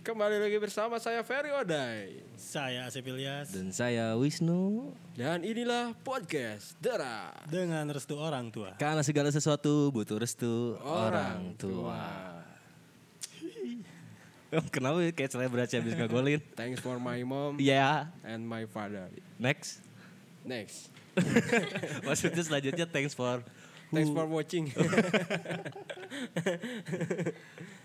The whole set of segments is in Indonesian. Kembali lagi bersama saya Ferry Odai Saya Asep Ilyas Dan saya Wisnu. Dan inilah podcast Dera dengan restu orang tua. Karena segala sesuatu butuh restu orang, tua. Kenapa ya kayak selebrasi habis ngegolin? Thanks for my mom Ya, and my father next. Next Maksudnya selanjutnya thanks for Thanks for watching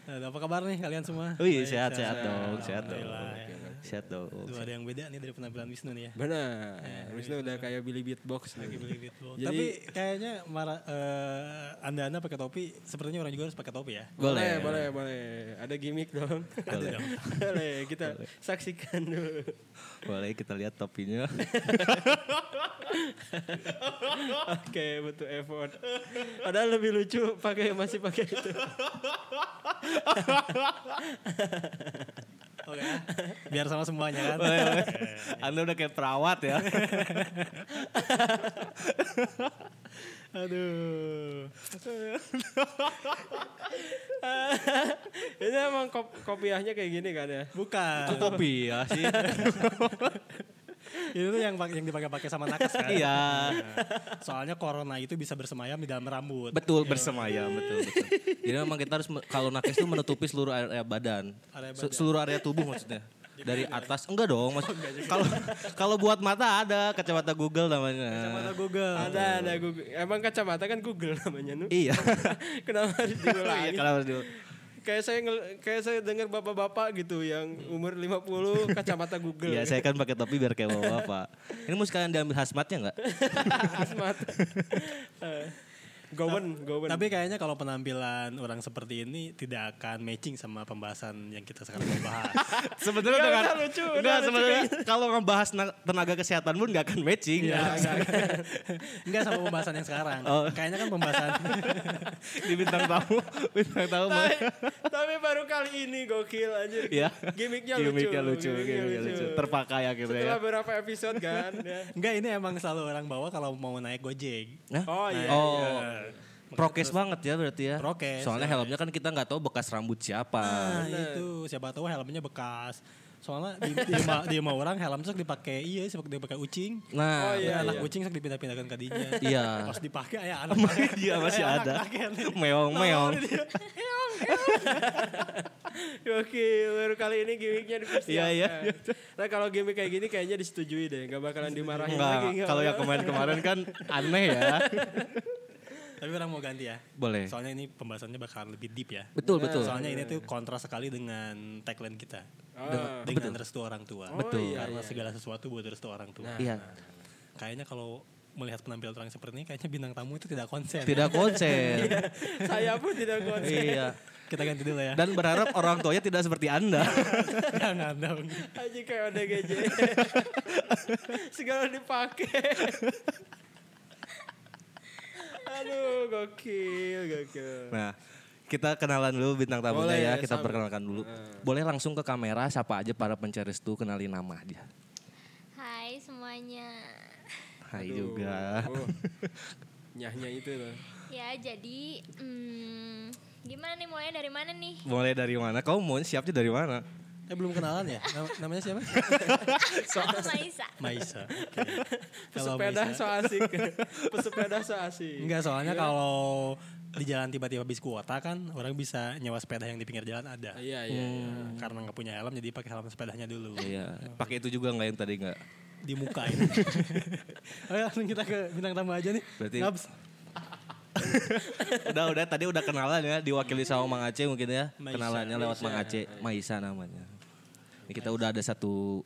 Nah, apa kabar nih kalian semua? Baik, Wih, sehat-sehat dong, Oh iya, sehat dong. Alhamdulillah, ya. Sehat dong. Tuh ada yang beda nih dari penampilan Wisnu nih ya. Benar Wisnu udah kayak Iya. Billy Beatbox nih. Lagi beli beatbox. Jadi- Tapi kayaknya mara, eh, anda-anda pakai topi, sepertinya orang juga harus pakai topi ya. Boleh, Boleh. boleh, boleh Ada gimmick dong Ada dong. Boleh, kita saksikan dulu Boleh kita lihat topinya. Oke, butuh effort Padahal lebih lucu pakai masih pakai itu Oke. ya. Biar sama semuanya kan. iya. Anda udah kayak perawat ya. Aduh. Ini emang kop- kopiahnya kayak gini kan ya Bukan. Itu topi ya sih. Itu tuh yang pak- yang dipakai-pakai sama nakas kan. Iya. Soalnya corona itu bisa bersemayam di dalam rambut. Betul bersemayam, betul, betul. Jadi memang kita harus me- kalau nakes itu menutupi seluruh area badan. Area Se- Seluruh area tubuh maksudnya. Dari atas enggak dong, Mas. Kalau kalau buat mata ada kacamata Google namanya. Kacamata Google. Ada, ada Google. Emang kacamata kan Google namanya nu. Iya. Kenapa harus Iya, diulangi? kalau harus diul- kayak saya ngel- kayak saya dengar bapak-bapak gitu yang umur 50 kacamata Google. Iya, saya kan pakai topi biar kayak bapak-bapak. Ini mau sekalian diambil hazmatnya enggak? Asmat. Eh, Gowen, gowen. Tapi kayaknya kalau penampilan orang seperti ini tidak akan matching sama pembahasan yang kita sekarang mau bahas. Sebenarnya Iya, dengan udah lucu, udah lucu enggak kan? sebenarnya kalau ngebahas na- tenaga kesehatan pun enggak akan matching. Iya. ya. Enggak sama pembahasan yang sekarang. Oh. Kayaknya kan pembahasan Di bintang tamu, bintang tamu. malah- tapi, tapi baru kali ini gokil anjir. Iya. Gimiknya lucu. Gimiknya lucu, gimiknya lucu. Terpakai akhirnya ya. Setelah berapa episode kan. ya. Enggak ini emang selalu orang bawa kalau mau naik Gojek. Hah? Oh iya. Oh. iya. Prokes banget ya berarti ya. Prokes, Soalnya helmnya kan kita nggak tahu bekas rambut siapa. Ah. Nah, itu siapa tahu helmnya bekas. Soalnya di, di, ma- di ma orang helm sok dipakai iya sok dipakai ucing. Nah, Oh, iya, Ya, anak iya. kucing sok dipindah-pindahkan ke dinya. Iya. Pas dipakai ya anak Makanya dia masih ada. ya. Meong-meong. Gokil, baru kali ini gimiknya dipersiapkan. Iya, iya. Nah kalau gimik kayak gini kayaknya disetujui deh. Gak bakalan dimarahin Enggak, lagi. nggak kalau yang bakal. kemarin-kemarin kan aneh ya. Tapi orang mau ganti ya. Boleh. Soalnya ini pembahasannya bakal lebih deep ya. Betul, betul. Soalnya ini tuh kontras sekali dengan tagline kita. Ah. Dengan restu orang tua. Betul. iya, Karena segala sesuatu butuh restu orang tua. nah, Iya. Kayaknya kalau melihat penampilan orang seperti ini kayaknya bintang tamu itu tidak nah. konsen. Tidak konsen. Saya pun tidak konsen. iya. Kita ganti dulu ya. Dan berharap orang tuanya tidak seperti Anda. Jangan dong. Aja kayak ODGJ. Segala dipakai. Aduh, gokil, gokil. Nah, kita kenalan dulu bintang tamunya Boleh, ya, ya, sama. kita Nah. perkenalkan dulu. Boleh langsung ke kamera siapa aja para pencari restu kenalin nama dia. Hai semuanya. Hai juga. Oh, Nyahnya itu loh. Ya, jadi hmm, gimana nih mulainya dari mana nih? Mulai dari mana? Kamu mau siapnya dari mana? Eh belum kenalan ya? Nam- namanya siapa? Aku Maisa. Maisa. Oke. Kalau Pesepeda Maisa- so Iya. asik. Pesepeda so asik. Enggak, soalnya kalau di jalan tiba-tiba habis kuota kan orang bisa nyewa sepeda yang di pinggir jalan ada. Iya, iya. iya. Hmm. Karena nggak punya helm jadi pakai helm sepedanya dulu Iya, pakai itu juga nggak yang tadi nggak? di muka ini. Oke, langsung kita ke bintang tamu aja nih. Berarti- Ngabs. udah udah tadi udah kenalan ya diwakili sama Mang Aceh mungkin ya Maisa. kenalannya lewat Mang Aceh Maisa namanya ini kita udah ada satu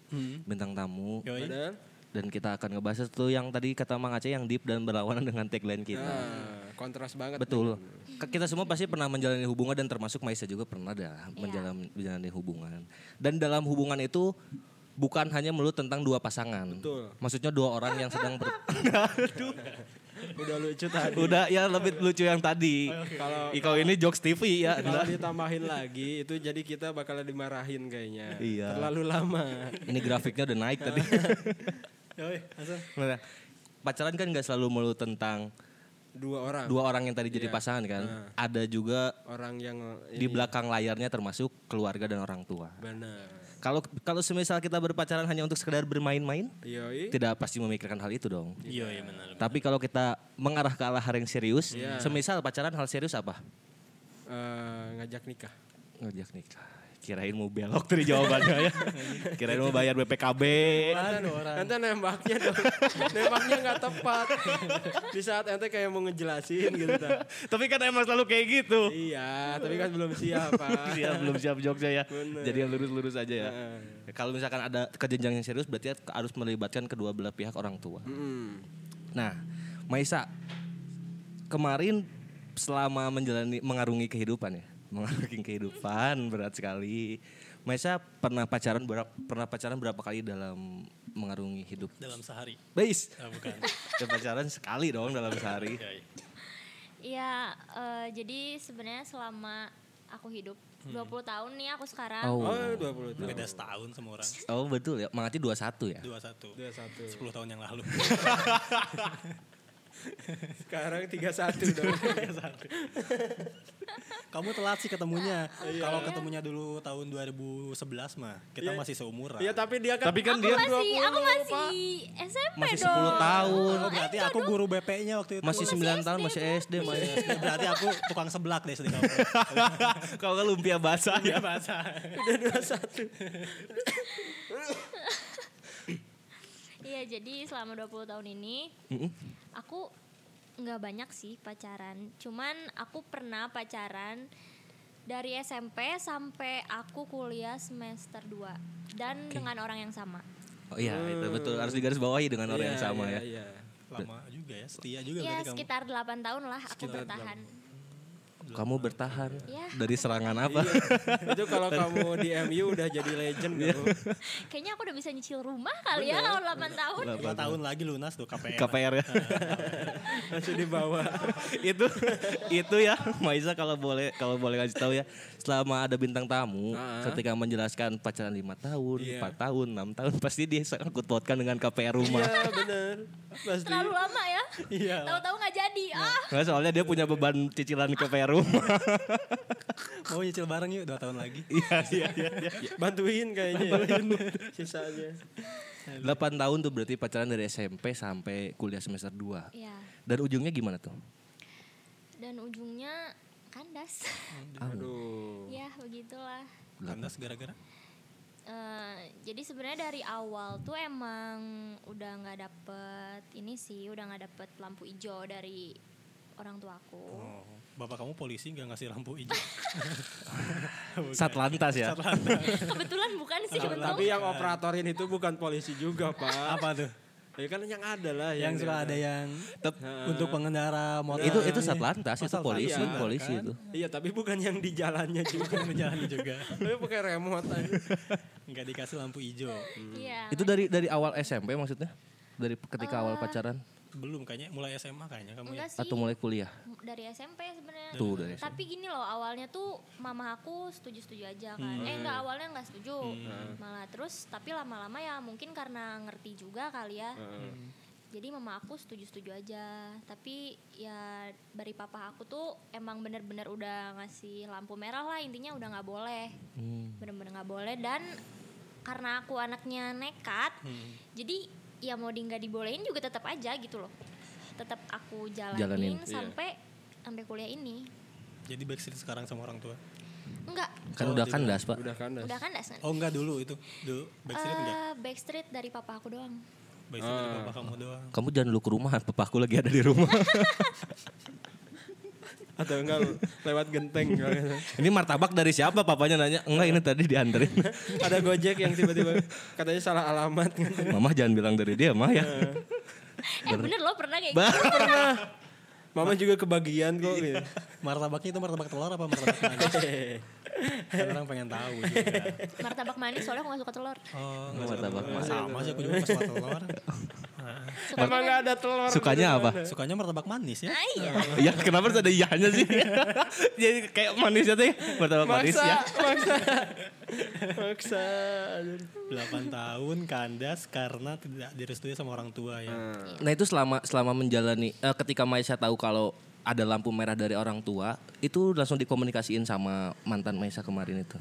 bintang tamu Hmm. Yoi. Benar? dan kita akan ngebahas itu yang tadi kata Mang Aceh yang deep dan berlawanan dengan tagline kita Ah. Nah, kontras banget. betul Ke- kita semua pasti pernah menjalani hubungan dan termasuk Maisa juga pernah dah menjalani, menjalani hubungan dan dalam hubungan itu bukan hanya melulu tentang dua pasangan Betul. maksudnya dua orang yang sedang ber... Udah lucu tadi. udah ya lebih lucu yang tadi Kalau Ih, kalau ini jokes TV ya Kalau ditambahin lagi itu jadi kita bakalan dimarahin kayaknya. Iya. Terlalu lama. ini grafiknya udah naik tadi Yoi, langsung. Nah, pacaran kan nggak selalu melulu tentang dua orang dua orang yang tadi jadi Ah. Iya. pasangan kan ada juga orang yang di belakang layarnya termasuk keluarga dan orang tua benar kalau kalau semisal kita berpacaran hanya untuk sekedar bermain-main yoi tidak pasti memikirkan hal itu dong Iya, iya benar. tapi kalau kita mengarah ke arah yang serius semisal pacaran hal serius apa eh, ngajak nikah ngajak nikah kirain mau belok dari jawabannya ya kirain mau bayar BPKB Nanti- Nanti nembaknya dong. nembaknya nggak tepat. Di saat ente kayak mau ngejelasin gitu. ta. tapi kan emang selalu kayak gitu Iya, tapi kan belum siap, Pak. Iya belum siap Jogja ya. Bener. Jadi yang lurus-lurus aja ya. Ya, Kalau misalkan ada kejenjang yang serius berarti harus melibatkan kedua belah pihak orang tua. Mm. Nah, Maisa kemarin selama menjalani mengarungi kehidupan ya, mengarungi kehidupan berat sekali. Maisa pernah pacaran berapa pernah pacaran berapa kali dalam mengarungi hidup? Dalam sehari. Bais. Ah, bukan. Ya, pacaran sekali dong dalam sehari. Iya, iya. Iya, eh, jadi sebenarnya selama aku hidup 20 tahun nih aku sekarang. Oh, Hmm. Oh. 20 tahun. Beda setahun sama orang. Oh betul ya, mengati 21 ya. 21. 21. 10 tahun yang lalu. Sekarang 31 dong. Kamu telat sih ketemunya. Iya. Kalau ketemunya dulu tahun 2011 mah, kita masih seumuran. Iya, tapi dia kan Tapi kan aku dia masih, 20, aku masih SMP Masih dong. 10 tahun. Oh, berarti aku guru BP-nya waktu itu. Masih 9 tahun masih SD, Mas. berarti aku tukang seblak deh sedih kamu. Kalau nggak lumpia basah ya. bahasa. Iya, jadi selama 20 tahun ini aku nggak banyak sih pacaran. Cuman aku pernah pacaran dari SMP sampai aku kuliah semester 2 dan dengan orang yang sama. Oh iya, itu betul harus digaris bawahi dengan orang yang sama ya. Iya. Lama juga ya, setia juga Iya, berarti kamu. sekitar 8 tahun lah aku bertahan. Kamu bertahan Iya. dari serangan apa? Itu kalau kamu di MU udah jadi legend Iya. kamu. Kayaknya aku udah bisa nyicil rumah kali ya kalau 8 tahun. 2 tahun lagi lunas tuh Iya. KPR. KPR ya. Langsung dibawa. itu itu ya Maisa kalau boleh kalau boleh kasih tahu ya selama ada bintang tamu ketika menjelaskan pacaran lima tahun, Iya. empat tahun, enam tahun pasti dia sangkut pautkan dengan KPR rumah. Iya, bener. Pasti. Terlalu lama ya. Iya. Tahu-tahu nggak jadi. Ah, Nggak, soalnya dia punya beban cicilan KPR rumah. Mau Oh, nyicil bareng yuk 2 tahun lagi. Iya iya iya. Bantuin kayaknya. Bantuin. Sisanya. Delapan tahun tuh berarti pacaran dari SMP sampai kuliah semester 2. iya. Dan ujungnya gimana tuh? Dan ujungnya kandas. Aduh. ya, begitulah. Lantas gara-gara Eh, jadi sebenarnya dari awal tuh emang udah nggak dapet ini sih, udah nggak dapet lampu hijau dari orang tuaku. Oh, bapak kamu polisi nggak ngasih lampu hijau. Satlantas ya. Kebetulan bukan sih, untung. Tapi ya- yang operatorin itu bukan polisi juga, Pak. Apa tuh? Ya kan yang ada lah Yang suka ada yang Tep- untuk pengendara motor. itu itu satlantas Oh, itu polisi Satlantas, kan? polisi itu Iya, tapi bukan yang di jalannya juga. menjalani juga. Tapi pakai remote aja. Nggak dikasih lampu hijau. Iya. itu dari dari awal SMP maksudnya dari ketika awal pacaran Belum kayaknya mulai SMA kayaknya kamu ya. Enggak sih. atau mulai kuliah dari SMP sebenarnya. Tuh, dari SMP. Tapi gini loh awalnya tuh mama aku setuju-setuju aja kan. Eh enggak awalnya enggak setuju. Malah terus tapi lama-lama ya mungkin karena ngerti juga kali ya. Jadi mama aku setuju-setuju aja. Tapi ya dari papa aku tuh emang bener-bener udah ngasih lampu merah lah intinya udah nggak boleh. Bener-bener nggak boleh dan karena aku anaknya nekat. Jadi ya mau di nggak dibolehin juga tetap aja gitu loh. Tetap aku Jalanin. jalanin, sampai sampai kuliah ini. Jadi backstreet sekarang sama orang tua. Enggak, kan udah kandas pak Udah kandas. udah kan dasar. Oh enggak dulu itu. Dulu backstreet enggak? Eh, backstreet dari papa aku doang. Backstreet Ah. dari bapak kamu doang. kamu jangan dulu ke rumah papaku lagi ada di rumah Atau enggak lewat genteng. ini martabak dari siapa papanya nanya enggak ini tadi dianterin ada Gojek yang tiba-tiba katanya salah alamat. mama jangan bilang dari dia mah ya Eh bener loh pernah kayak Bah, gitu. pernah. Mama juga kebagian kok. gitu. Martabaknya itu martabak telur apa martabak manis? Kan orang pengen tahu juga. gitu. Martabak manis soalnya aku gak suka telur. Oh, Oh, martabak sama. manis. Sama sih aku juga nggak suka telur. Emang enggak ada telur. sukanya apa Sukanya martabak manis ya. Ah iya. ya kenapa harus ada iyahnya sih jadi kayak manisnya tuh ya martabak manis Maksa, ya maksa. Maksa. anjir. 8 tahun kandas karena tidak direstui sama orang tua ya. Nah itu selama selama menjalani eh, ketika Maisa tahu kalau ada lampu merah dari orang tua itu langsung dikomunikasiin sama mantan Maisa kemarin itu.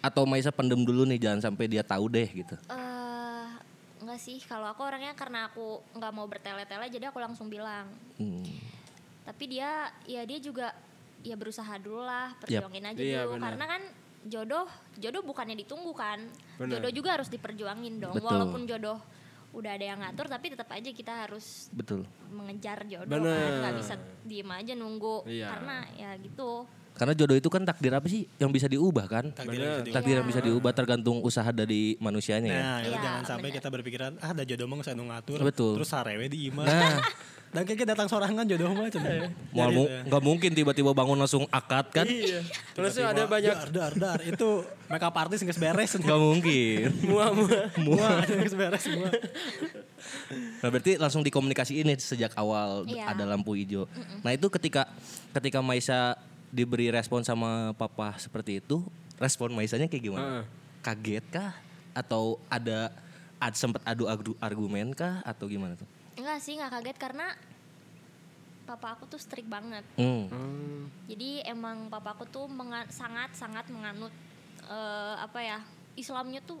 Atau Maisa pendem dulu nih jangan sampai dia tahu deh gitu. Eh, enggak sih kalau aku orangnya karena aku nggak mau bertele-tele jadi aku langsung bilang Hmm. tapi dia ya dia juga ya berusaha dulu lah perjuangin aja Iya, dulu benar. karena kan jodoh jodoh bukannya ditunggu kan Benar. jodoh juga harus diperjuangin dong Betul. walaupun jodoh udah ada yang ngatur tapi tetap aja kita harus Betul. mengejar jodoh kan Benar. nggak bisa diem aja nunggu Iya. karena ya gitu Karena jodoh itu kan takdir apa sih yang bisa diubah kan? Takdir Bener. yang bisa Takdir yang bisa diubah tergantung usaha dari manusianya ya. gitu. Nah, itu Iya, jangan sampai bener. kita berpikiran ah ada jodoh mah saya ngatur. Betul. Terus sarewe di imah. Nah. Dan kayak datang sorangan jodoh mah cuma. Mau mu- ya. nggak mungkin tiba-tiba bangun langsung akad kan? Iya. Terus tuh ada banyak dar dar dar itu makeup artis nggak beres Nggak mungkin. muah-muah. semua nggak beres semua. Nah, berarti langsung dikomunikasiin nih sejak awal d- Iya. ada lampu hijau. Nah, itu ketika ketika Maisa diberi respon sama papa seperti itu, respon Maisanya kayak gimana? Heeh. Kaget kah atau ada ad, sempat adu adu argumen kah atau gimana tuh? enggak sih nggak kaget karena papa aku tuh strict banget Hmm. Jadi emang papaku tuh menga- sangat-sangat menganut eh, apa ya Islamnya tuh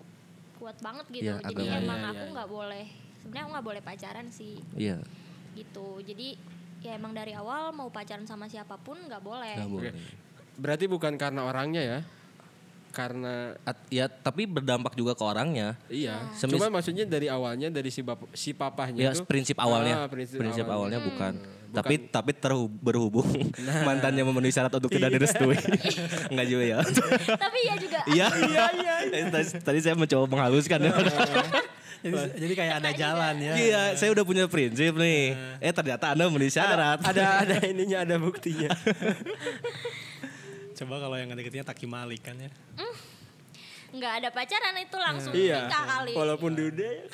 kuat banget gitu. Iya, Jadi agama. emang Iya, aku iya, nggak boleh sebenarnya aku nggak boleh pacaran sih Iya. gitu. Jadi ya emang dari awal mau pacaran sama siapapun nggak boleh. nggak boleh. Berarti bukan karena orangnya ya. Karena At- ya, tapi berdampak juga ke orangnya. Iya. Semis- Cuma maksudnya dari awalnya dari si bap- si papahnya Ya, itu. prinsip Ah, awalnya. prinsip, prinsip awalnya. Hmm, Nah. awalnya, bukan. Tapi tapi terhub- berhubung mantannya memenuhi syarat untuk tidak Iya. direstui. Enggak juga ya. Tapi ya juga Iya. Tadi, tadi saya mencoba menghaluskan ya. Jadi, jadi kayak ada jalan ya. Iya, saya udah punya prinsip nih. Eh ternyata Anda memenuhi syarat. Ada ada ininya, ada buktinya. Coba kalau yang deketinnya Taki Malik kan ya. nggak ada pacaran itu langsung iya. nikah kali. Walaupun duda ya.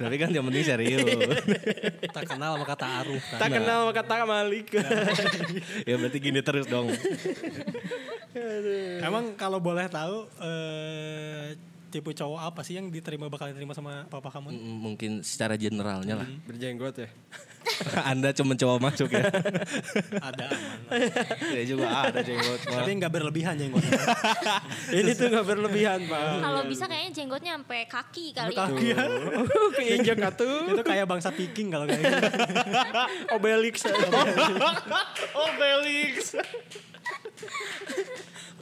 Tapi kan yang penting serius. Tak kenal sama kata Aruf kan. Nah. Tak kenal kata Malik. ya berarti gini terus dong. Emang kalau boleh tahu eh, tipe cowok apa sih yang diterima bakal diterima sama papa kamu? Mm, Mungkin secara generalnya lah. Berjenggot ya. Hmm. Anda cuma coba masuk ya. ada aman. ya juga ada jenggot. Tapi nggak berlebihan ya, jenggotnya. Ini tuh gak berlebihan, Pak. Kalau bisa kayaknya jenggotnya sampai kaki kali. Kaki ya. Keinjak atuh. Itu kayak bangsa piking kalau kayak gitu. Obelix. Obelix.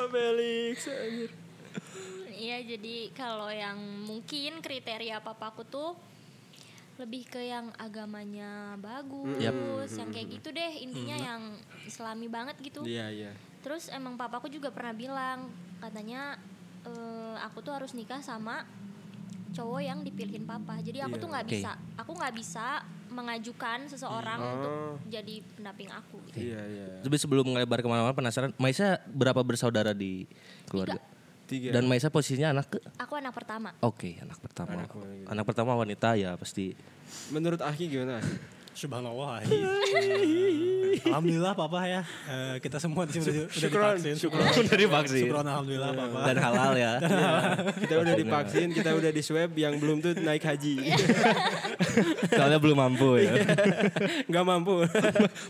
Obelix. anjir. Iya jadi kalau yang mungkin kriteria papaku tuh lebih ke yang agamanya bagus, yang kayak gitu deh intinya yang islami banget gitu. Iya, iya. Terus emang papaku juga pernah bilang katanya eh, aku tuh harus nikah sama cowok yang dipilihin papa. Jadi Iya, aku tuh nggak Oke. bisa, aku nggak bisa mengajukan seseorang untuk Oh. jadi pendamping aku. Gitu. Iya, iya. Tapi sebelum ngelebar kemana-mana penasaran, Maisa berapa bersaudara di keluarga? Tiga. Dan Maisa posisinya anak ke? Aku anak pertama. Oke, anak pertama. Anak wanita. anak pertama wanita ya pasti. Menurut Aki gimana? Aki? Subhanallah. Hai. Eh, Alhamdulillah papa ya. Eh, kita semua di sini udah, udah syukron, divaksin. syukron. Dari vaksin. Syukron alhamdulillah papa. Dan halal ya. Kita udah divaksin, kita udah di swab, yang belum tuh naik haji. Soalnya belum mampu ya. Gak mampu.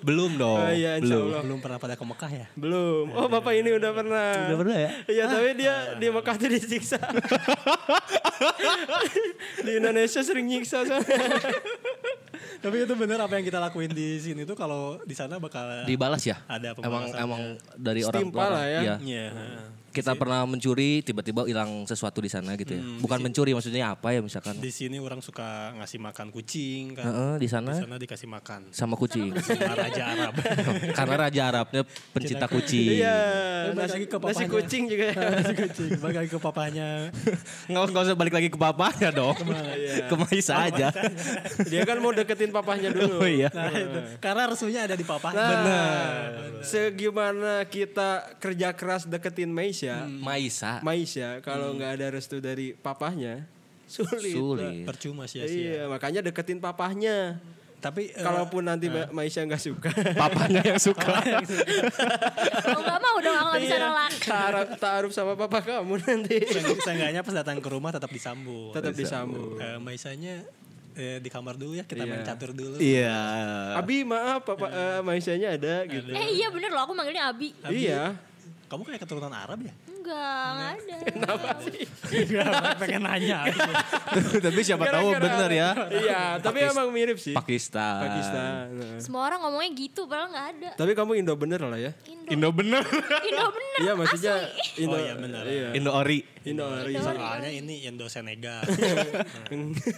belum dong. Oh, iya, insya belum. Allah. Belum pernah pada ke Mekah ya? Belum. Oh, Bapak ini udah pernah. Udah pernah ya? Iya, tapi Ah. dia di Mekah tuh disiksa. di Indonesia sering nyiksa Iya. soalnya. Tapi itu bener apa yang kita lakuin di sini tuh kalau di sana bakal Dibalas ya? Ada Emang pembalasannya. emang dari orang Setimpal tua. lah ya. Iya. Iya. Kita pernah mencuri tiba-tiba hilang sesuatu di sana gitu ya. Bukan mencuri maksudnya apa ya misalkan. Di sini orang suka ngasih makan kucing kan. Heeh, Nah. di Di sana sana dikasih makan. sama kucing. Sama raja Arab. Karena raja Arabnya pencinta kucing. Iya. Balik Nasi, lagi ke nasi papahnya. Ah. kucing juga ya. Nasi kucing balik lagi ke papanya. Nggak usah- nggak usah balik lagi ke bapaknya dong. Ke Maisa aja. Dia kan mau deketin papahnya dulu. Oh iya. Nah, itu. Karena resminya ada di papanya. Benar. Segimana kita kerja keras deketin Hmm. Maisha, Hmm. Maisa. Maisha kalau nggak ada restu dari papahnya sulit. Sulit. Percuma sia-sia. Iya, makanya deketin papahnya. Tapi Iya, ya. eh, Kalaupun nanti Ma- Maisha nggak suka. Papanya yang suka. Mau nggak mau dong aku nggak bisa Iya, nolak. Taaruf taaruf sama papa kamu nanti. seenggak- seenggaknya pas datang ke rumah tetap disambut. Tetap disambung. Eh, Maisanya eh, di kamar dulu ya Iya. kita main catur dulu. Iya. Abi maaf papa eh, Maisha-nya ada gitu. Eh iya bener loh aku manggilnya Abi. Iya. Kamu kayak keturunan Arab ya? Enggak, nggak ada. Enggak, Iya, pengen nanya. Tapi siapa tahu Gara-gara- bener ya. Iya, tapi Pakis- emang mirip sih. Pakistan. Pakistan. Nah. Semua orang ngomongnya gitu padahal nggak ada. Tapi kamu Indo bener lah ya. Indo. Indo bener. Indo bener. Iya maksudnya asli. Indo. Oh, iya, benar. Iya. Indo ori. Indo Ari. Soalnya ini Indo Senegal.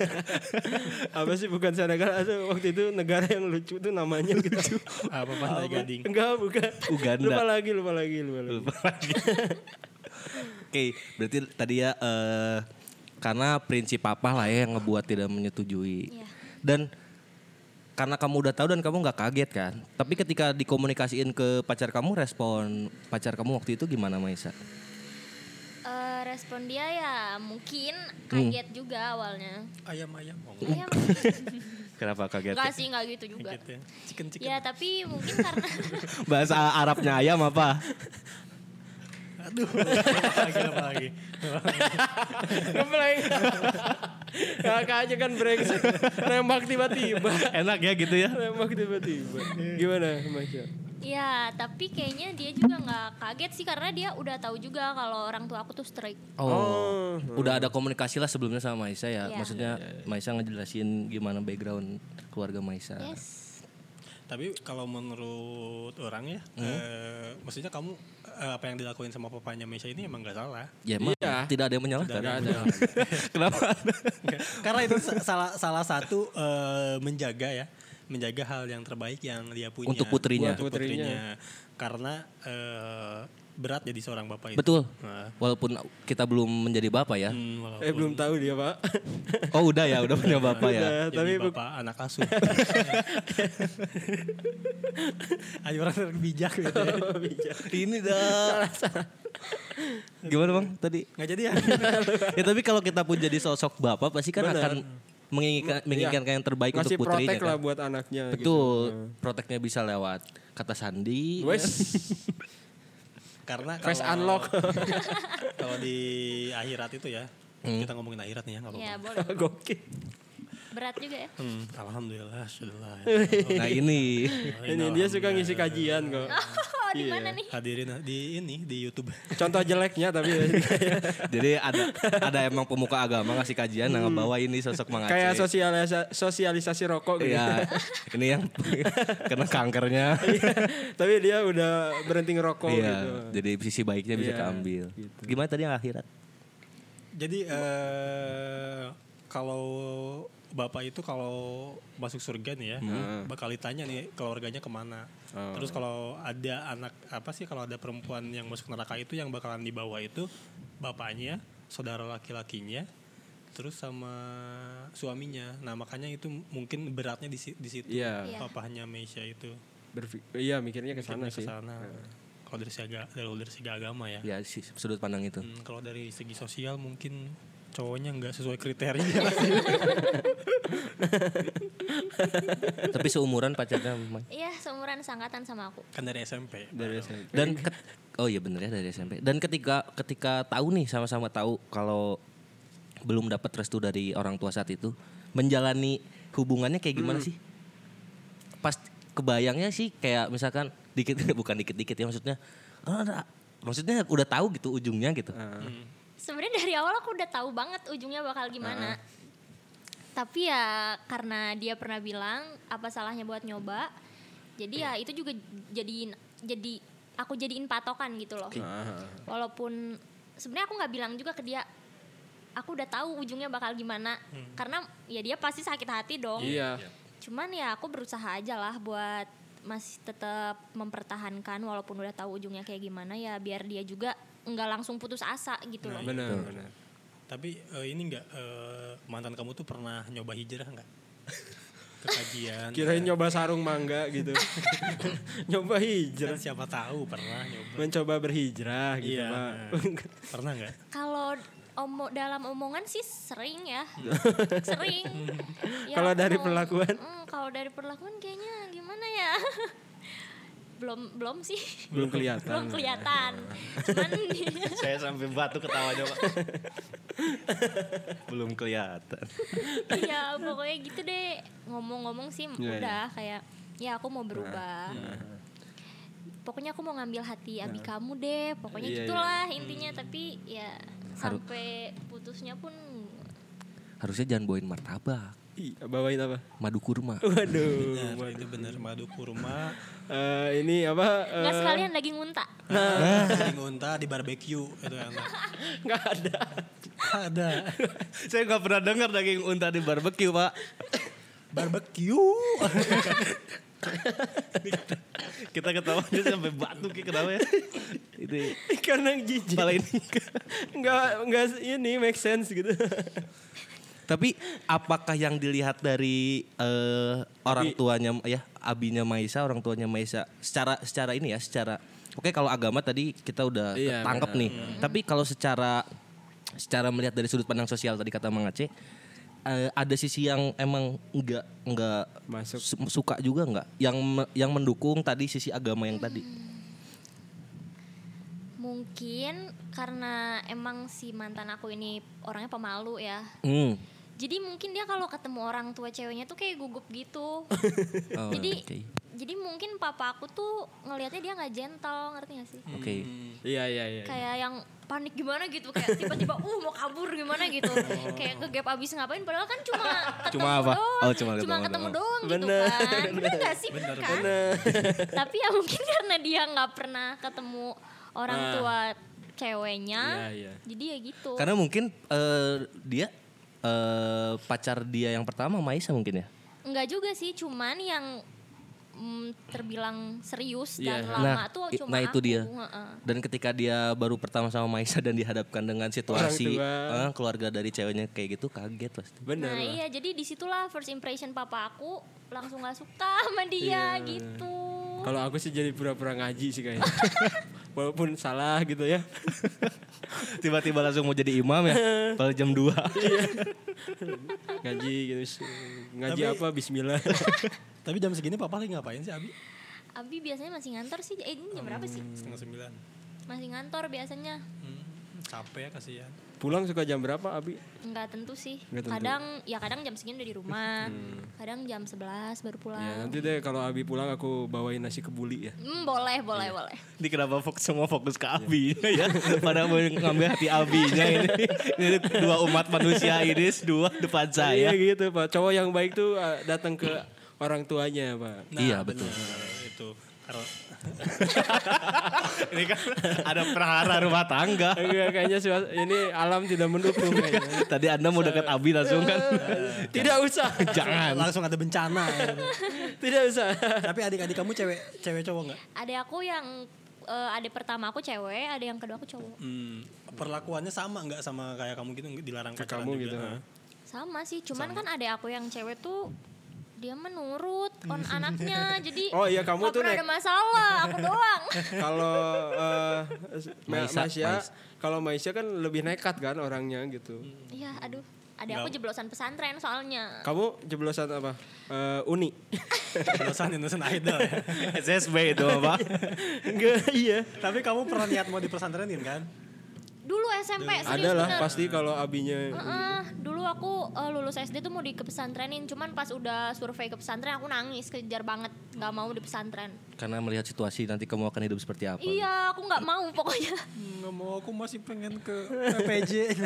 Apa sih bukan Senegal Aduh, waktu itu negara yang lucu tuh namanya gitu. Apa pantai gading? Enggak, bukan. Uganda. Lupa lagi, lupa lagi, lupa lagi. Lupa lagi. Oke, berarti tadi ya eh, karena prinsip apa lah ya yang ngebuat tidak menyetujui. Iya. Dan karena kamu udah tahu dan kamu nggak kaget kan. Tapi ketika dikomunikasiin ke pacar kamu, respon pacar kamu waktu itu gimana Maisa? Eh, respon dia ya mungkin kaget juga awalnya. Ayam-ayam. Oh, Iya, Kenapa kaget? enggak sih enggak gitu juga. gitu ya. Chicken-chicken. Ya tapi mungkin karena Bahasa Arabnya ayam apa? Aduh. apa lagi, apa lagi. Ngebleng. Kakak aja kan brengsek. Nembak tiba-tiba. Enak ya gitu ya. Nembak tiba-tiba. Gimana, Masya? ya tapi kayaknya dia juga nggak kaget sih karena dia udah tahu juga kalau orang tua aku tuh strike. Oh, udah ada komunikasi lah sebelumnya sama Maisa ya. Iya. Maksudnya Maisa ngejelasin gimana background keluarga Maisa. Yes. Tapi kalau menurut orang ya, Hmm? eh, maksudnya kamu eh, apa yang dilakuin sama papanya Mesha ini emang gak salah. Ya, emang Iya. tidak ada yang menyalahkan. Tidak ada yang Kenapa? Karena itu sa- salah salah satu eh, menjaga ya, menjaga hal yang terbaik yang dia punya Untuk putrinya. Untuk putrinya. Karena eh, berat jadi seorang bapak itu. Betul. Nah, Walaupun kita belum menjadi bapak ya. hmm, walaupun Eh, belum tahu dia, Pak. Oh, udah ya, udah punya bapak ya. Udah, jadi tapi bu- bapak anak asuh. Ayo orang bijak gitu ya. Ini dah. Gimana Bang tadi? Nggak jadi ya. Ya tapi kalau kita pun jadi sosok bapak pasti kan Benar. Iya. akan menginginkan menginginkan yang terbaik Ngasih untuk putrinya protek kan. lah buat anaknya. gitu. Betul. Iya. Proteknya bisa lewat kata sandi. Gitu. Wes, Karena face kalau- unlock. kalau di akhirat itu ya Hmm. kita ngomongin akhirat nih ya nggak apa-apa Ya boleh. Gokil. Berat juga ya. Hmm, alhamdulillah sudah Nah, ini. Ini dia suka ngisi kajian kok. Oh, di mana nih? hadirin di ini di YouTube Contoh jeleknya tapi ya. Jadi ada ada emang pemuka agama ngasih kajian nah bawa ini sosok Hmm. Mang kayak Aceh. sosialisa- sosialisasi rokok gitu. Iya. ini yang kena kankernya. tapi dia udah berhenti ngerokok Iya, Iya, gitu. jadi sisi baiknya bisa Iya, keambil. Gimana tadi yang akhirat? jadi eh, kalau bapak itu kalau masuk surga nih ya Hmm. bakal ditanya nih keluarganya kemana Oh. terus kalau ada anak apa sih kalau ada perempuan yang masuk neraka itu yang bakalan dibawa itu bapaknya saudara laki-lakinya terus sama suaminya nah makanya itu mungkin beratnya di, si- di situ Iya. Iya. papahnya Meisha itu Berfi- iya mikirnya ke sana Karena sih. Iya. kesana. Kalau dari segi aga- kalau dari segi agama ya. Ya si- sudut pandang itu. Hmm, kalau dari segi sosial mungkin cowoknya nggak sesuai kriteria. Tapi seumuran pacarnya Mang. Iya, seumuran sangkatan sama aku. kan dari SMP. Dari SMP. dan ket- oh iya bener ya dari SMP. Dan ketika ketika tahu nih sama-sama tahu kalau belum dapat restu dari orang tua saat itu, menjalani hubungannya kayak gimana Hmm. sih? Pas kebayangnya sih kayak misalkan dikit bukan dikit-dikit ya maksudnya. "Oh, ada- maksudnya udah tahu gitu ujungnya gitu. Ah. Hmm. Sebenarnya dari awal aku udah tahu banget ujungnya bakal gimana. Tapi ya karena dia pernah bilang apa salahnya buat nyoba. Jadi ya itu juga jadiin jadi aku jadiin patokan gitu Iya. loh. Walaupun sebenarnya aku nggak bilang juga ke dia aku udah tahu ujungnya bakal gimana karena ya dia pasti sakit hati dong. Iya. Cuman ya aku berusaha aja lah buat masih tetap mempertahankan walaupun udah tahu ujungnya kayak gimana ya biar dia juga nggak langsung putus asa gitu loh. Benar, benar. Tapi eh, ini nggak eh, mantan kamu tuh pernah nyoba hijrah nggak? Kan Kekajian. Kirain nyoba sarung mangga gitu. nyoba hijrah. siapa tahu pernah nyoba. Mencoba berhijrah gitu, Iya. Pak. Pernah nggak? Kalau omo dalam omongan sih sering ya sering Ya, Kalau dari kalau- perlakuan? Mm, kalau dari perlakuan kayaknya gimana ya belum belum sih Belum kelihatan. belum kelihatan cuman Saya sampai batuk ketawanya pak. Belum kelihatan. ya pokoknya gitu deh ngomong-ngomong sih Iya, udah kayak ya aku mau berubah pokoknya aku mau ngambil hati abi kamu deh pokoknya Iya, gitulah intinya tapi ya sampai putusnya pun Harusnya jangan bawain martabak, Ih, bawain apa? madu kurma. Waduh. Benar, Nah, itu benar madu kurma, Eh, ini apa? eh, nggak sekalian lagi ngunta Nah. daging eh, unta di barbeque itu enak. nggak ada. Ada Saya nggak pernah dengar daging unta di barbeque pak. barbeque. Kita ketawa dia sampai batuk ya kenapa ya? Itu Karena jijik. Kepala ini. Nggak, nggak ini make sense gitu. Tapi apakah yang dilihat dari eh, Abi. orang tuanya ya abinya Maisa, orang tuanya Maisa secara secara ini ya, secara Oke kalau agama tadi kita udah Iya, tangkep benar. nih. Tapi kalau secara secara melihat dari sudut pandang sosial tadi kata Mang Aceh eh, ada sisi yang emang enggak enggak Masuk. su- suka juga enggak yang me- yang mendukung tadi sisi agama yang tadi. mungkin karena emang si mantan aku ini orangnya pemalu ya Hmm. jadi mungkin dia kalau ketemu orang tua ceweknya tuh kayak gugup gitu Oh, Jadi- oke. jadi mungkin papa aku tuh ngelihatnya dia nggak gentle ngerti gak sih Oke. Iya, iya, iya. kayak yang panik gimana gitu kayak tiba-tiba uh mau kabur gimana gitu kayak kegap abis ngapain padahal kan cuma ketemu Cuma apa? doang Oh, cuma ketemu ketemu doang, Bener, gitu kan bener gak sih kan tapi ya mungkin karena dia nggak pernah ketemu orang Ah. tua ceweknya Iya, iya. jadi ya gitu Karena mungkin eh, dia eh, pacar dia yang pertama Maisa mungkin ya. Enggak juga sih cuman yang mm, terbilang serius Iya. dan lama Nah, tuh i- cuma nah itu aku. dia. Heeh. Dan ketika dia baru pertama sama Maisa dan dihadapkan dengan situasi tua. eh, keluarga dari ceweknya kayak gitu kaget pasti. Bener. Nah lah. iya jadi disitulah first impression papa aku langsung gak suka sama dia Iya. gitu. Kalau aku sih jadi pura-pura ngaji sih kayaknya. Walaupun salah gitu ya. Tiba-tiba langsung mau jadi imam ya pada jam 2. Ngaji gitu. Ngaji Tapi- apa? Bismillah. Tapi jam segini papa lagi ngapain sih Abi? Abi biasanya masih ngantor sih, eh ini jam berapa sih? Hmm. Hmm. Setengah sembilan. Masih ngantor biasanya. Hmm, capek ya kasihan. Pulang suka jam berapa, Abi? Enggak tentu sih. Nggak tentu. Kadang ya kadang jam segini udah di rumah. Hmm. Kadang jam 11 baru Ya, Iya. pulang. nanti deh kalau Abi pulang aku bawain nasi kebuli ya. Hmm, boleh, boleh, Iya. boleh. Ini kenapa fokus semua fokus ke abinya ya? Padahal mau ngambil hati abinya ini. Ini dua umat manusia ini dua depan Iya saya. gitu, Pak. Cowok yang baik tuh eh, datang ke orang tuanya, Pak. Nah, Iya, betul. benar, Eh, itu Karena- Ini kan ada perhara rumah tangga. Enggak, kayaknya suas- ini alam tidak mendukung kayaknya. Tadi Anda mau dekat Abi langsung kan? Tidak usah. Jangan. langsung ada bencana. ya. Tidak usah. Tapi adik-adik kamu cewek cewek cowok nggak? Ada aku yang eh, ada pertama aku cewek, ada yang kedua aku cowok. Hmm, perlakuannya sama nggak sama kayak kamu gitu dilarang Ke pacaran kamu juga, gitu. ha? Sama sih, cuman kan ada aku yang cewek tuh dia menurut on anaknya. Jadi Oh iya, kamu nggak tuh pernah naik- ada masalah, aku doang. Kalau eh, Ma- Maisa, Maisha, Maisa. kalau Maisha kan lebih nekat kan orangnya gitu. Iya, aduh. Ada aku jeblosan pesantren soalnya. Kamu jeblosan apa? Eh, uni. Dosan Indonesian Idol. ya. SSB itu Pak. Enggak, iya. Tapi kamu pernah niat mau dipersantrenin kan? Dulu SMP serius Ada lah bener. pasti kalau abinya Heeh, dulu aku eh, lulus SD tuh mau di kepesantrenin, cuman pas udah survei ke pesantren aku nangis kejar banget, nggak mau di pesantren. Karena melihat situasi nanti kamu akan hidup seperti apa. Iya, aku nggak mau pokoknya. Nggak mau, aku masih pengen ke PJ.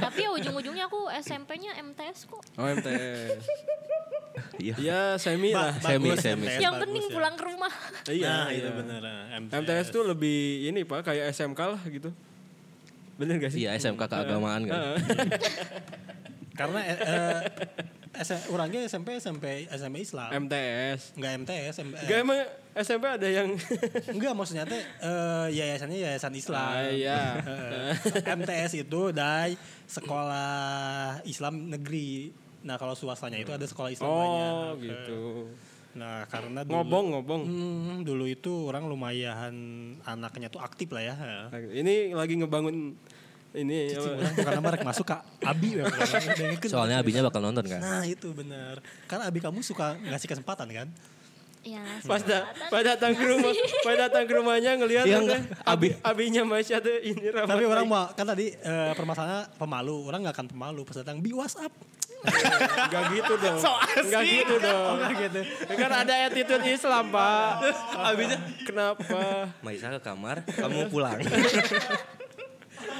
Tapi ya ujung-ujungnya aku SMP-nya MTS kok. Oh MTS. Iya. Iya semi lah. Semi, semi. Yang penting pulang ke rumah. Iya. Nah, itu iya. bener. ah, MTS tuh lebih ini pak kayak SMK lah gitu. Bener gak sih? Iya, SMK keagamaan kan. Karena eh, eh, S- orangnya SMP SMP SMP Islam. MTS. Enggak MTS, M- eh, Gak emang SMP ada yang enggak maksudnya teh eh, yayasannya yayasan Islam. Ah, iya. Eh, MTS itu dari Oh, sekolah Islam negeri. Nah, kalau swastanya itu ada sekolah Islam banyak. Oh gitu. Nah karena dulu, Ngobong, ngobong. Hmm, dulu itu orang lumayan anaknya tuh aktif lah ya. Ini lagi ngebangun ini apa? Cicing orang bukan nama rek masuk ke Abi ya. bukan. Ada yang ngeken. Soalnya abinya bakal nonton kan. Nah itu benar. Karena Abi kamu suka ngasih kesempatan kan? Iya. pas da- pas datang ke rumah pas datang ke rumahnya ngelihat Iya, ada enggak. abi abinya Masya tuh ini ramai Tapi orang mau kan tadi eh, permasalahannya pemalu. Orang nggak akan pemalu pas datang bi WhatsApp. enggak gitu dong enggak gitu dong gitu. kan ada attitude Islam pak abinya kenapa Maisa ke kamar, kamu pulang.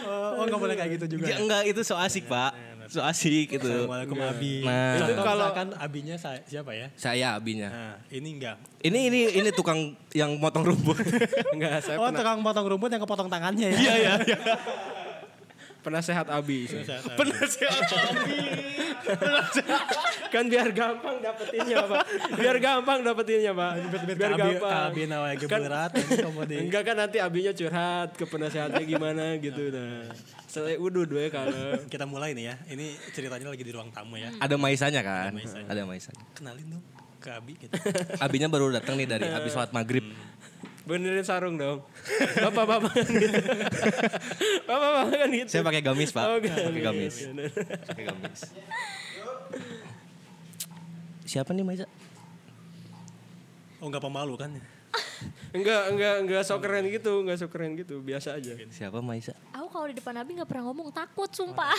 Oh nggak boleh kayak gitu juga. ya, enggak itu so asik pak, so asik gitu. itu. Assalamualaikum Abi. Nah. Itu Itu kalau kalau- kan Abinya saya, siapa ya? Saya abinya. Nah, ini enggak. Ini ini ini tukang yang motong rumput. enggak saya Oh, Eh, pernah tukang potong rumput yang kepotong tangannya ya. Iya, iya. pernah sehat abi sih. Penasehat kan biar gampang dapetinnya pak biar gampang dapetinnya pak biar gampang Abi nawa lagi Kan- berat ini kamu di- enggak kan nanti abinya curhat ke penasehatnya gimana gitu nah saya udah dua kalau Kita mulai nih ya. Ini ceritanya lagi di ruang tamu ya. Ada maisanya kan? Ada maisanya. Kenalin dong ke Abi gitu. Abinya baru datang nih dari habis sholat maghrib. Benerin sarung dong. Bapak bapak kan gitu. bapak bapak kan gitu. Saya pakai gamis pak, Oh, pakai gamis. gamis, pakai gamis. Siapa nih Maisa? Oh, enggak pemalu kan? Enggak enggak enggak sok keren gitu, enggak sok keren gitu, biasa aja. Siapa Maisa? Aku kalau di depan Abi nggak pernah ngomong takut sumpah.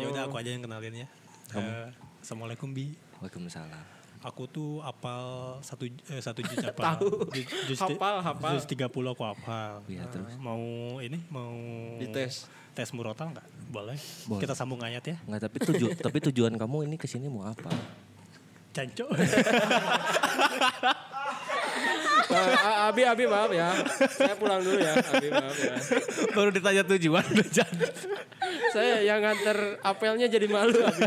Ya udah Oh. aku aja yang kenalin ya. Eh, Assalamualaikum Bi. Waalaikumsalam. Aku tuh apal satu eh, satu juz apal. Tahu. Juz- juz- Hafal, hafal. Juz 30 aku apal. Iya, Nah, terus? Mau ini mau Dites. Tes murotal enggak? Boleh. Boleh. Kita sambung ayat ya. Enggak tapi tuju tapi tujuan kamu ini kesini mau apa? Canco. Pak, Eh, A- abi abi maaf ya. Saya pulang dulu ya, abi maaf ya. Baru ditanya tujuan udah Saya yang nganter apelnya jadi malu. Abi.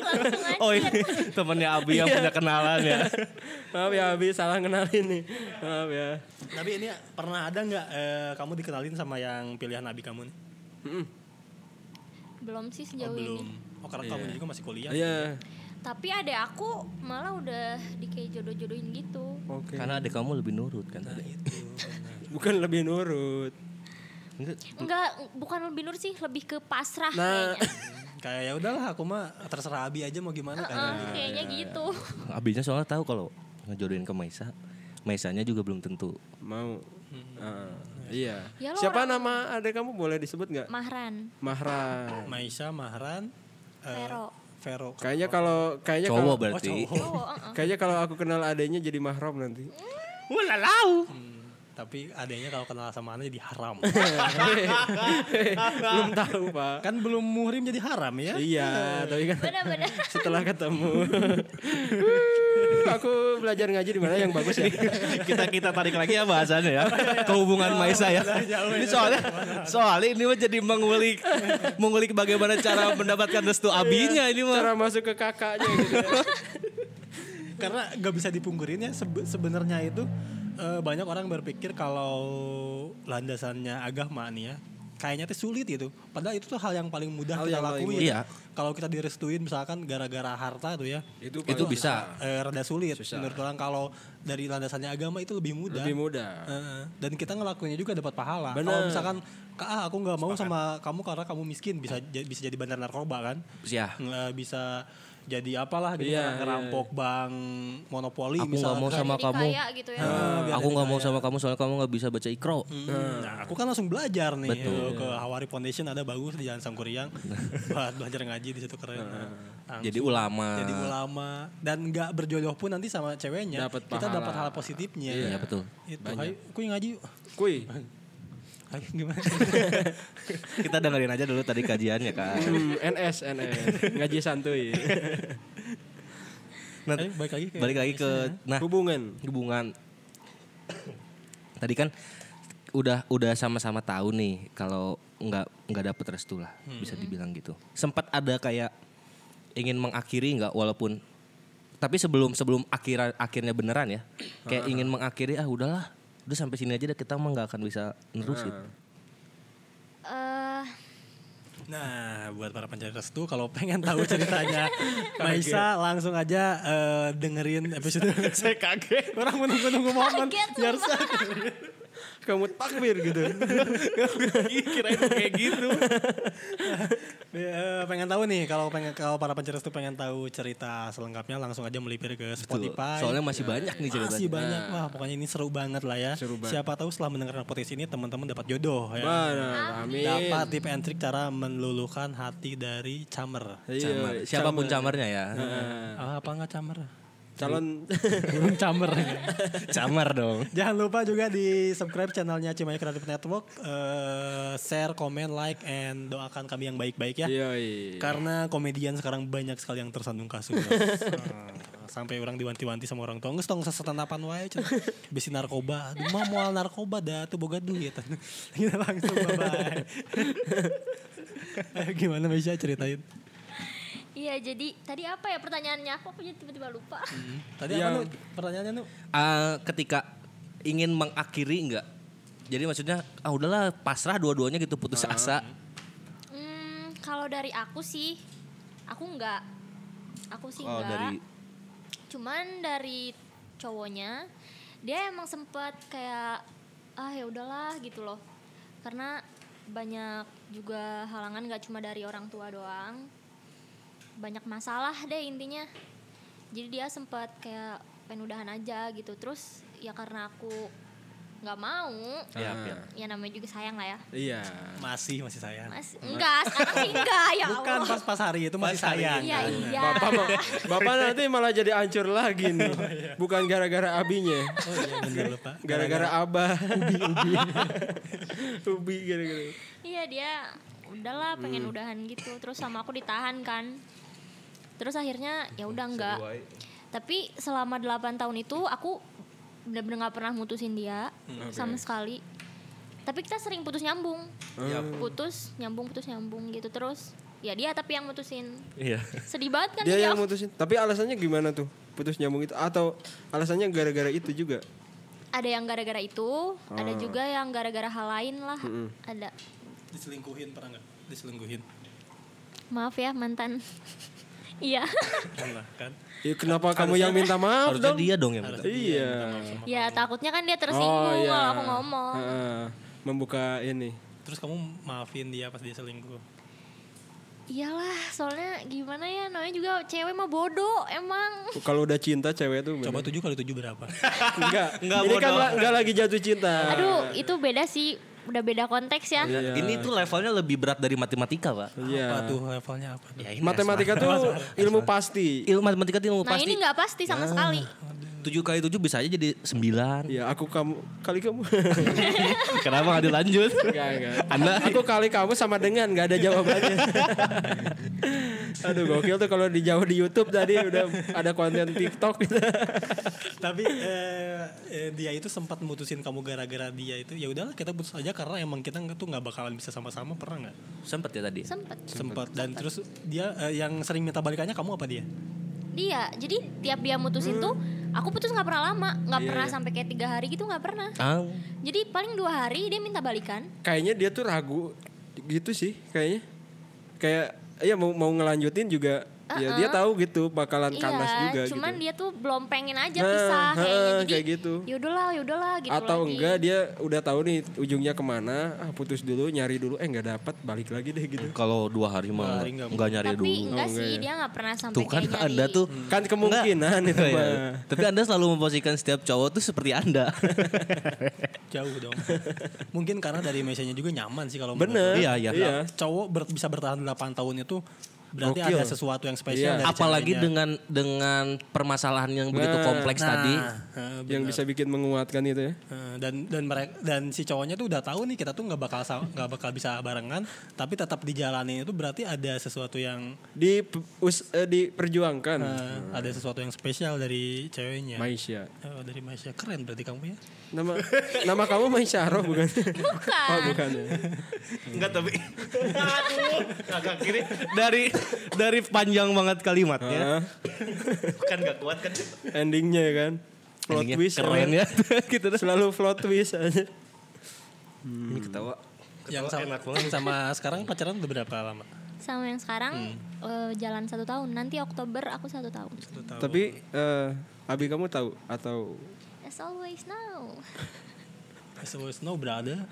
Langsung aja. Oh ini temennya Abi yang punya kenalan ya. Maaf ya abi salah kenalin nih. Maaf ya. Tapi ini pernah ada nggak eh, kamu dikenalin sama yang pilihan Abi kamu nih? Belum Oh, sih sejauh belum. ini. Oh karena kamu juga masih kuliah. Iya. Tapi ada aku malah udah dikei jodoh-jodohin gitu. Oke. Karena adik kamu lebih nurut kan tadi. Bukan lebih nurut. Enggak, bukan lebih nur sih, lebih ke pasrah Nah. kayaknya. Kayak ya udahlah aku mah terserah Abi aja mau gimana kan. Heeh, kayaknya. kayaknya gitu. Nah. Abinya soalnya tahu kalau ngejodohin ke Maisa, Maisanya juga belum tentu. Mau. Ah, iya. Ya lo Siapa nama adek kamu boleh disebut nggak? Mahran, Mahra. Maisha, Mahran, eh, Vero. Vero. Kayaknya kalau kayaknya Ya, kalau Cowok berarti. Cowok, heeh. Kayaknya kalau aku kenal adanya jadi mahram nanti. Hmm, tapi adanya kalau kenal sama Ana jadi haram. Belum tahu, Pak. kan belum muhrim jadi haram ya. Iya, tapi kan Bener-bener. setelah ketemu. Uh, aku belajar ngaji di mana yang bagus ya? kita kita tarik lagi ya bahasannya ya ke hubungan Maisa ya ini soalnya soalnya ini mah jadi mengulik mengulik bagaimana cara mendapatkan restu abinya ini mah Cara masuk ke kakaknya gitu. Karena nggak bisa dipungkirin ya sebe- sebenarnya itu eh, banyak orang berpikir kalau landasannya agama nih ya kayaknya tuh sulit gitu. Padahal itu tuh hal yang paling mudah Hal kita yang paling lakuin. mudah. Iya. Kalau kita direstuin misalkan gara-gara harta tuh ya. itu bisa eh, rada sulit menurut orang kalau dari landasannya agama itu lebih mudah. lebih mudah. Heeh. dan kita ngelakuinnya juga dapat pahala. Bener. Kalau misalkan "Kak, ah, aku nggak mau sama kamu karena kamu miskin bisa ja- bisa jadi bandar narkoba kan? ya Nggak bisa jadi apalah gitu Iya, ngerampok bank monopoli aku nggak misalkan. mau sama Jadi kamu Eh. kaya gitu ya. aku nggak mau sama kamu soalnya kamu nggak bisa baca ikro Hmm, Nah, aku kan langsung belajar nih Betul. Eh, ke Hawari Foundation ada bagus di Jalan Sangkuriang buat belajar ngaji di situ keren. Nah, langsung jadi ulama jadi ulama dan nggak berjodoh pun nanti sama ceweknya Dapat kita pahala. dapat hal positifnya. Iya, betul. Itu, hai, kuy ngaji. yuk. Kui. Hai, gimana? kita dengerin aja dulu tadi kajiannya Iya. kan Hmm, NS, NS. Ngaji santuy. nah, Ayo, balik lagi ke balik lagi ke nah Hubungan. hubungan tadi kan udah udah sama-sama tahu nih kalau nggak nggak dapet restu lah Hmm. bisa dibilang gitu sempat ada kayak ingin mengakhiri nggak walaupun tapi sebelum sebelum akhir akhirnya beneran ya kayak ingin mengakhiri ah udahlah udah Ah. sampai sini aja deh kita mah nggak akan bisa nerus gitu Eh, Nah, buat para pencari restu, kalau pengen tahu ceritanya Maisa, langsung aja eh, dengerin episode Saya kaget. Orang menunggu-nunggu momen Kaget, biar sumpah. Kamu takbir gitu. Kirain kayak gitu. Eh, pengen tahu nih kalau pengen kalau para pencari restu pengen tahu cerita selengkapnya langsung aja melipir ke Spotify. Iya. Soalnya masih banyak nih ceritanya. masih banyak. Wah, pokoknya ini seru banget lah ya. Seru banget. Siapa tahu setelah mendengarkan podcast ini teman-teman dapat jodoh ya. Mana, Nah, amin. Dapat tip and trick cara meluluhkan hati dari camer. Iya, Camar. Siapapun camar. camarnya ya. Nah, Ah, apa enggak camer? calon Belum camer. Camar dong. Jangan lupa juga di subscribe channelnya Cimahi Creative Network, Eh, share, komen, like, and doakan kami yang baik-baik ya. Iya, Yoi. Karena komedian sekarang banyak sekali yang tersandung kasus. Ah, Sampai orang diwanti-wanti sama orang tua. Nges tong sesetanapan wae. cenah. Bisi narkoba. Aduh, Mah mual narkoba dah. Tuh boga duit. Kita langsung bye-bye. Ayo, Gimana bisa ceritain? Iya jadi tadi apa ya pertanyaannya aku aku jadi tiba-tiba lupa. Tadi Iya. apa lu? Pertanyaannya lu? Ah, ketika ingin mengakhiri enggak? Jadi maksudnya ah udahlah pasrah dua-duanya gitu putus asa. Hmm, kalau dari aku sih aku enggak. Aku sih Kalau enggak. Oh, dari Cuman dari cowoknya dia emang sempat kayak ah ya udahlah gitu loh. Karena banyak juga halangan gak cuma dari orang tua doang. Banyak masalah deh intinya. Jadi dia sempat kayak penudahan aja gitu. Terus ya karena aku nggak mau. ya, ya. Ya namanya juga sayang lah ya. Iya. Masih, masih sayang. Mas, enggak, sekarang sih enggak ya Bukan Allah. pas-pas hari itu masih Pas hari sayang. Iya, iya. Bapak, ma- bapak nanti malah jadi hancur lagi nih. Bukan gara-gara abinya. Oh iya bener lupa. Gara-gara abah. Ubi, ubi. ubi gara-gara. Iya, dia udahlah pengen udahan gitu. Terus sama aku ditahan kan. Terus akhirnya ya udah enggak. Tapi selama 8 tahun itu aku benar-benar nggak pernah mutusin dia sama sekali. Tapi kita sering putus nyambung. Hmm. Putus nyambung putus nyambung gitu terus. Ya dia tapi yang mutusin. Iya. Sedih banget kan Dia dia. yang mutusin. Tapi alasannya gimana tuh? Putus nyambung itu atau alasannya gara-gara itu juga? Ada yang gara-gara itu, ada Ah. juga yang gara-gara hal lain lah. Hmm. Ada. Diselingkuhin pernah nggak? Diselingkuhin. Maaf ya mantan. Iya. Pernah kan? Ya, kenapa kamu yang minta maaf Harusnya dong? dia dong yang minta. Iya. ya takutnya kan dia tersinggung iya. kalau aku ngomong. Heeh. membuka ini. Terus kamu maafin dia pas dia selingkuh. Iyalah, soalnya gimana ya namanya juga cewek mah bodoh emang. Kalau udah cinta cewek tuh Coba bener. tujuh kali tujuh berapa? enggak. ini kan la- enggak lagi jatuh cinta. Aduh, itu beda sih. Udah beda konteks ya. Eh. Iya. Ini tuh levelnya lebih berat dari matematika, Pak. Iya. Apa tuh levelnya apa tuh? Ya, ini Matematika tuh ilmu pasti. ilmu matematika itu ilmu Nah, pasti. ini nggak pasti sama sekali. Tujuh kali tujuh bisa aja jadi sembilan. Ya aku kamu kali kamu. Iya. Kenapa nggak dilanjut? Enggak, enggak. Anda Aku kali kamu sama dengan nggak ada jawabannya. Aduh gokil tuh kalau di jauh di YouTube tadi udah ada konten TikTok gitu. Tapi eh, eh, dia itu sempat mutusin kamu gara-gara dia itu. Ya udahlah kita putus aja karena emang kita nggak- tuh nggak bakalan bisa sama-sama pernah nggak? sempet ya tadi. Sempet. Sempat dan terus dia eh, yang sering minta balikannya kamu apa dia? Dia, jadi tiap dia Hmm. mutusin tuh, aku putus nggak pernah lama, nggak Iya, pernah sampai kayak tiga hari gitu nggak pernah. Ah, Jadi paling dua hari dia minta balikan. Kayaknya dia tuh ragu gitu sih kayaknya. Kayak ya mau mau ngelanjutin juga ya dia tahu gitu bakalan kanas juga Uh-uh. iya, gitu. cuman dia tuh belum pengen aja Nah, pisah kayaknya. heeh, Jadi, ya kayak gitu. Yaudahlah, yaudahlah gitu atau lagi. enggak dia udah tahu nih ujungnya kemana ah, putus dulu nyari dulu eh nggak dapat balik lagi deh gitu kalau dua hari mah hari nggak nggak nyari Tapi dulu. enggak sih, ya. dia nggak pernah sampai Tuh kan kayak nyari. Anda tuh kan kemungkinan itu Iya. mah Tapi Anda selalu memposisikan setiap cowok tuh seperti Anda. Jauh dong. Mungkin karena dari mesianya juga nyaman sih kalau menurut bener Iya, iya. iya cowok ber- bisa bertahan 8 tahun itu berarti Gokil. ada sesuatu yang Iya. spesial dari Apalagi ceweknya. dengan dengan permasalahan yang begitu kompleks Nah, tadi. eh, yang bisa bikin menguatkan itu ya Eh, dan dan mereka dan si cowoknya tuh udah tahu nih kita tuh nggak bakal sa- nggak bakal bisa barengan tapi tetap dijalani itu berarti ada sesuatu yang di us, eh, diperjuangkan Nah. eh, ada sesuatu yang spesial dari ceweknya Maisha Eh, dari Malaysia keren berarti kamu ya nama nama kamu Maisha Roh bukan Bukan. oh bukan ya. Enggak tapi Aduh, agak kiri dari dari panjang banget Ah, kalimatnya. Kan gak kuat kan. endingnya ya kan plot Endingnya twist keren ya. gitu selalu plot twist aja Ini Hmm, ketawa yang sama, sama sekarang pacaran udah berapa lama? Sama yang sekarang Hmm. eh, jalan satu tahun. Nanti Oktober aku satu tahun. Satu tahun. Tapi eh Abi kamu tahu atau As always now. As always no brother.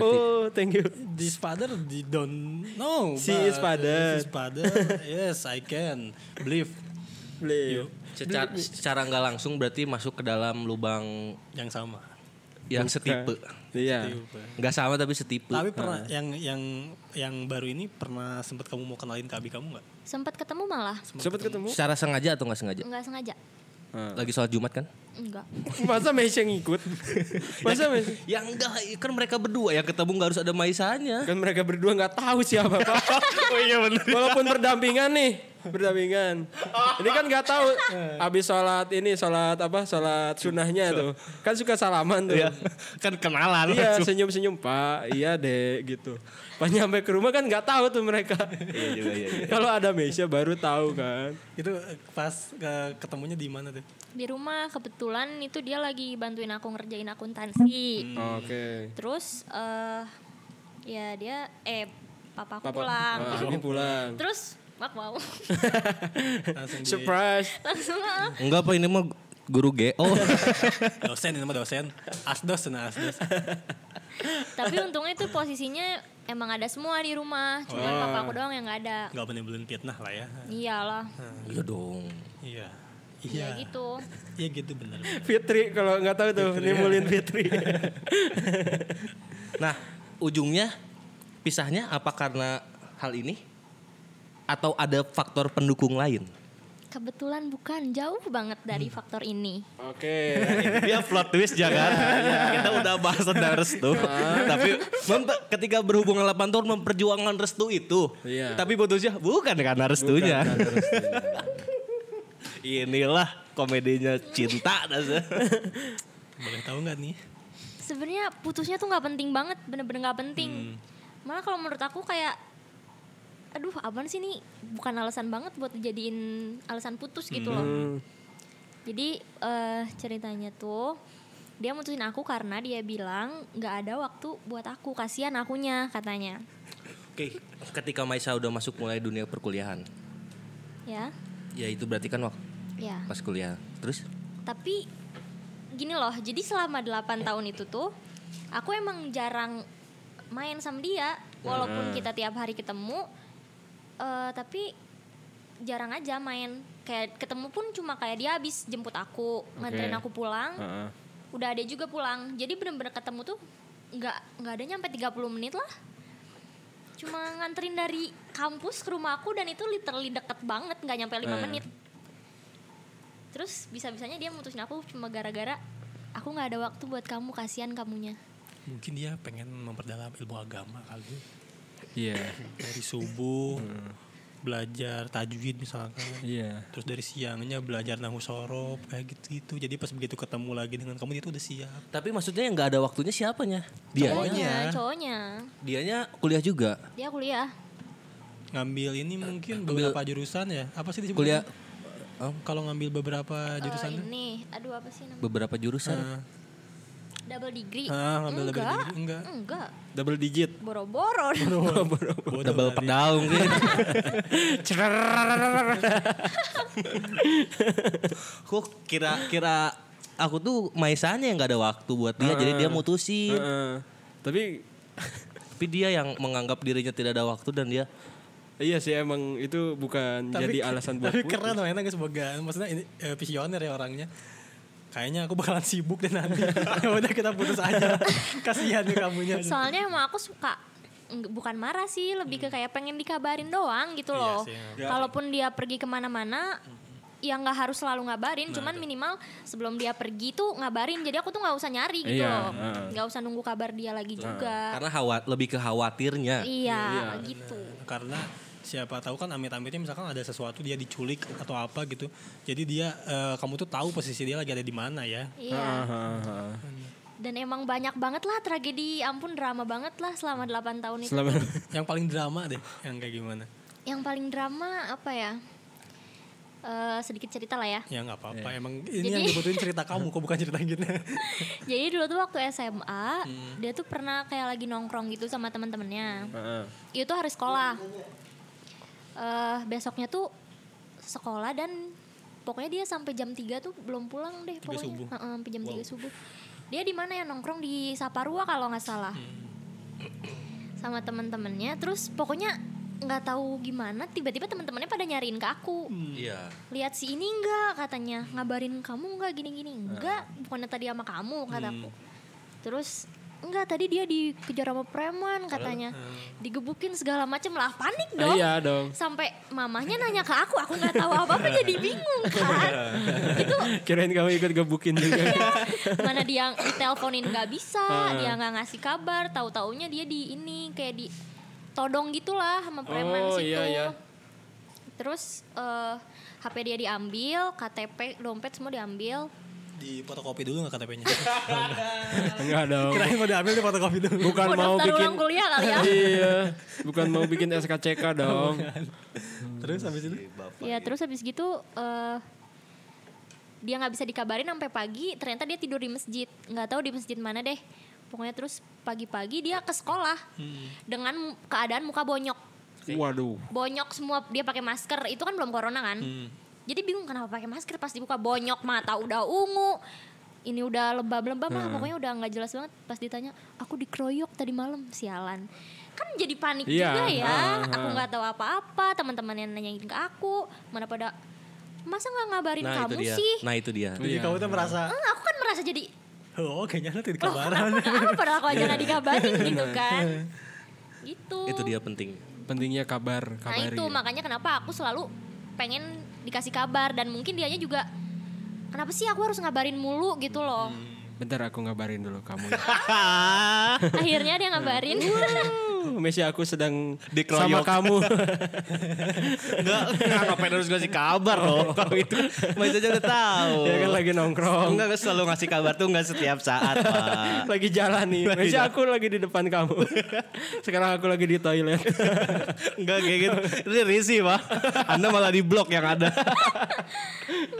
Oh, thank you. This father di don't know. She but is father. She is father. yes, I can believe Beliau. Secara, secara nggak langsung berarti masuk ke dalam lubang yang sama. yang setipe. Iya. Tipe. Nggak sama tapi setipe. Ah. Tapi pernah yang yang yang baru ini pernah sempat kamu mau kenalin ke abi kamu nggak? Sempat ketemu malah. Sempat ketemu? Secara sengaja atau nggak Ya. sengaja? Enggak sengaja. Lagi sholat Jumat kan? Enggak. Masa Meisha ngikut? Masa Meisha? Ya enggak, kan mereka berdua yang ketemu nggak harus ada Maisanya. Kan mereka berdua nggak tahu siapa Pak. Oh iya benar. Walaupun berdampingan nih, berdampingan. Ini kan nggak tahu habis sholat ini sholat apa sholat sunahnya tuh. Kan suka salaman tuh. Iya, kan kenalan. Iya langsung. senyum-senyum Pak, iya deh gitu. Pas nyampe ke rumah kan nggak tahu tuh mereka. Iya juga iya. iya. Kalau ada Meisha baru tahu kan. Itu eh, pas eh, ketemunya di mana tuh? Di rumah kebetulan itu dia lagi bantuin aku ngerjain Hmm. akuntansi. Oke. Terus eh ya dia eh papa aku Papa pulang. Ah, Abi pulang. Terus mak mau Iya. Langsung di Surprise. langsung ah. Enggak apa ini mah guru GO. dosen ini nama dosen. Asdos nah asdos. Tapi untungnya itu posisinya emang ada semua di rumah. Cuman Ah. papa aku doang yang nggak ada. Nggak menimbulin fitnah lah ya. Iyalah. Iya dong. Iya. Ya Iya. gitu. Iya gitu benar. Fitri kalau nggak tahu tuh nimbulin Fitri. Nah, ujungnya pisahnya apa karena hal ini? Atau ada faktor pendukung lain? Kebetulan bukan jauh banget dari faktor ini. Oke. Dia plot twist ya kan? Ah. jangan. Iya, Kita udah bahas tentang restu. Tapi mempe- ketika berhubungan 8 tahun memperjuangkan restu itu. Iya. Tapi putusnya bukan kan. karena restunya. Inilah komedinya cinta. Nasa. Boleh tahu nggak nih? Sebenarnya putusnya tuh nggak penting banget, bener-bener nggak penting. Malah kalau menurut aku kayak, aduh, apaan sih nih? Bukan alasan banget buat dijadiin alasan putus gitu loh. Jadi eh, ceritanya tuh dia mutusin aku karena dia bilang nggak ada waktu buat aku, kasihan akunya katanya. Oke, ketika Maisa udah masuk mulai dunia perkuliahan. Ya, Ya itu berarti kan waktu ya. pas kuliah. Terus? Tapi gini loh, jadi selama 8 tahun itu tuh aku emang jarang main sama dia walaupun kita tiap hari ketemu eh, tapi jarang aja main. Kayak ketemu pun cuma kayak dia habis jemput aku, nganterin aku pulang. Udah ada juga pulang. Jadi bener-bener ketemu tuh nggak nggak ada nyampe 30 menit lah. Cuma nganterin dari kampus ke rumah aku dan itu literally deket banget, nggak nyampe 5 Eh. menit terus bisa-bisanya dia mutusin aku cuma gara-gara aku nggak ada waktu buat kamu kasihan kamunya Mungkin dia pengen memperdalam ilmu agama kali. Iya. Dari subuh belajar tajwid misalkan. Iya. Terus dari siangnya belajar nahu sorob kayak gitu-gitu. Jadi pas begitu ketemu lagi dengan kamu dia tuh udah siap. Tapi maksudnya yang nggak ada waktunya siapanya? Iya. Dia. cowoknya cowoknya Dianya kuliah juga. dia kuliah Ngambil ini mungkin Ambil- beberapa jurusan ya. Apa sih disebut? Kuliah Kalau ngambil beberapa Eh, jurusan. ini aduh apa sih namanya beberapa Eh, jurusan. double degree Ah, ngambil double enggak degree, enggak. enggak Double digit. boro-boro Oh, Double pedal mungkin. Kok kira-kira aku tuh Maisanya yang nggak ada waktu buat dia, jadi Eh. dia mutusin. Heeh. Tapi Tapi dia yang menganggap dirinya tidak ada waktu dan dia iya sih emang itu bukan jadi alasan buat tapi putus. keren loh enak semoga maksudnya ini eh, visioner ya orangnya kayaknya aku bakalan sibuk deh nanti Ya udah kita putus aja kasihan tuh kamunya soalnya emang aku suka Eng- bukan marah sih lebih ke kayak pengen dikabarin doang gitu loh sih, kalaupun dia pergi kemana-mana ya nggak harus selalu ngabarin cuman minimal sebelum dia pergi tuh ngabarin jadi aku tuh nggak usah nyari gitu Iya, loh heeh. nggak usah nunggu kabar dia lagi juga karena khawat lebih ke khawatirnya. Eh. iya gitu karena siapa tahu kan amit-amitnya misalkan ada sesuatu dia diculik atau apa gitu jadi dia eh, kamu tuh tahu posisi dia lagi ada di mana ya iya Heeh, heeh. dan emang banyak banget lah tragedi ya ampun drama banget lah selama 8 tahun itu Selama yang paling drama deh yang kayak gimana yang paling drama apa ya eh, sedikit cerita lah ya. Ya nggak apa-apa. Iya. Emang ini Jadi- yang dibutuhin cerita kamu kok bukan cerita kita. Jadi dulu tuh waktu SMA, dia tuh pernah kayak lagi nongkrong gitu sama teman-temannya. Itu hari sekolah. Eh besoknya tuh sekolah dan pokoknya dia sampai jam 3 tuh belum pulang deh pokoknya. subuh. Heeh, sampai jam 3 subuh. Dia di mana ya nongkrong di Saparua kalau nggak salah. Sama teman-temannya. Terus pokoknya nggak tahu gimana tiba-tiba teman-temannya pada nyariin ke aku Iya. lihat si ini enggak katanya ngabarin kamu enggak gini-gini Nah. enggak bukannya tadi sama kamu Hmm. kataku terus enggak tadi dia dikejar sama preman katanya digebukin segala macem lah panik eh. dong Iya dong. sampai mamahnya nanya ke aku aku nggak tahu apa apa jadi bingung kan Iya. itu Ah, Kirain kamu ikut gebukin juga. mana dia diteleponin nggak bisa Ah. dia nggak ngasih kabar tahu taunya dia di ini kayak di todong gitulah sama preman Oh, situ iya, iya. terus eh, HP dia diambil KTP dompet semua diambil Di fotokopi dulu nggak KTP-nya? Enggak dong. Kirain mau diambil di fotokopi dulu. Bukan Mau mau daftar bikin ulang kuliah kali ya Iya, bukan mau bikin SKCK dong. Hmm, Terus habis itu? iya. ya terus habis gitu eh, dia nggak bisa dikabarin sampai pagi ternyata dia tidur di masjid nggak tahu di masjid mana deh pokoknya terus pagi-pagi dia ke sekolah Hmm. dengan keadaan muka bonyok Waduh. bonyok semua dia pakai masker itu kan belum corona kan Hmm. jadi bingung kenapa pakai masker pas dibuka bonyok mata udah ungu ini udah lebam-lebam Hmm. lah pokoknya udah nggak jelas banget pas ditanya aku dikeroyok tadi malam sialan kan jadi panik Iya, juga ya ah, aku ah. nggak tahu apa-apa teman-teman yang nanyain ke aku mana pada masa nggak ngabarin Nah itu kamu dia. sih Nah itu dia. Jadi Iya. kamu tuh merasa, Eh, aku kan merasa jadi oh kayaknya nanti loh dikabaran. kenapa kenapa padahal aku aja nggak dikabarin gitu kan gitu Itu dia penting. Pentingnya kabar, Nah kabari. ya. itu makanya kenapa aku selalu pengen dikasih kabar dan mungkin dianya juga kenapa sih aku harus ngabarin mulu gitu loh. Hmm. Bentar aku ngabarin dulu kamu. Akhirnya dia ngabarin. Hmm. Messi aku sedang Dikeroyok. sama kamu. Enggak, ngapain harus ngasih kabar loh Ya kalau itu. Mas aja udah tahu. Dia kan lagi nongkrong. Enggak selalu ngasih kabar tuh enggak setiap saat, Ah. Pak. lagi jalan nih. Messi aku lagi di depan kamu. Sekarang aku lagi di toilet. Enggak kayak gitu. Ini risih, Pak. Anda malah di blok yang ada.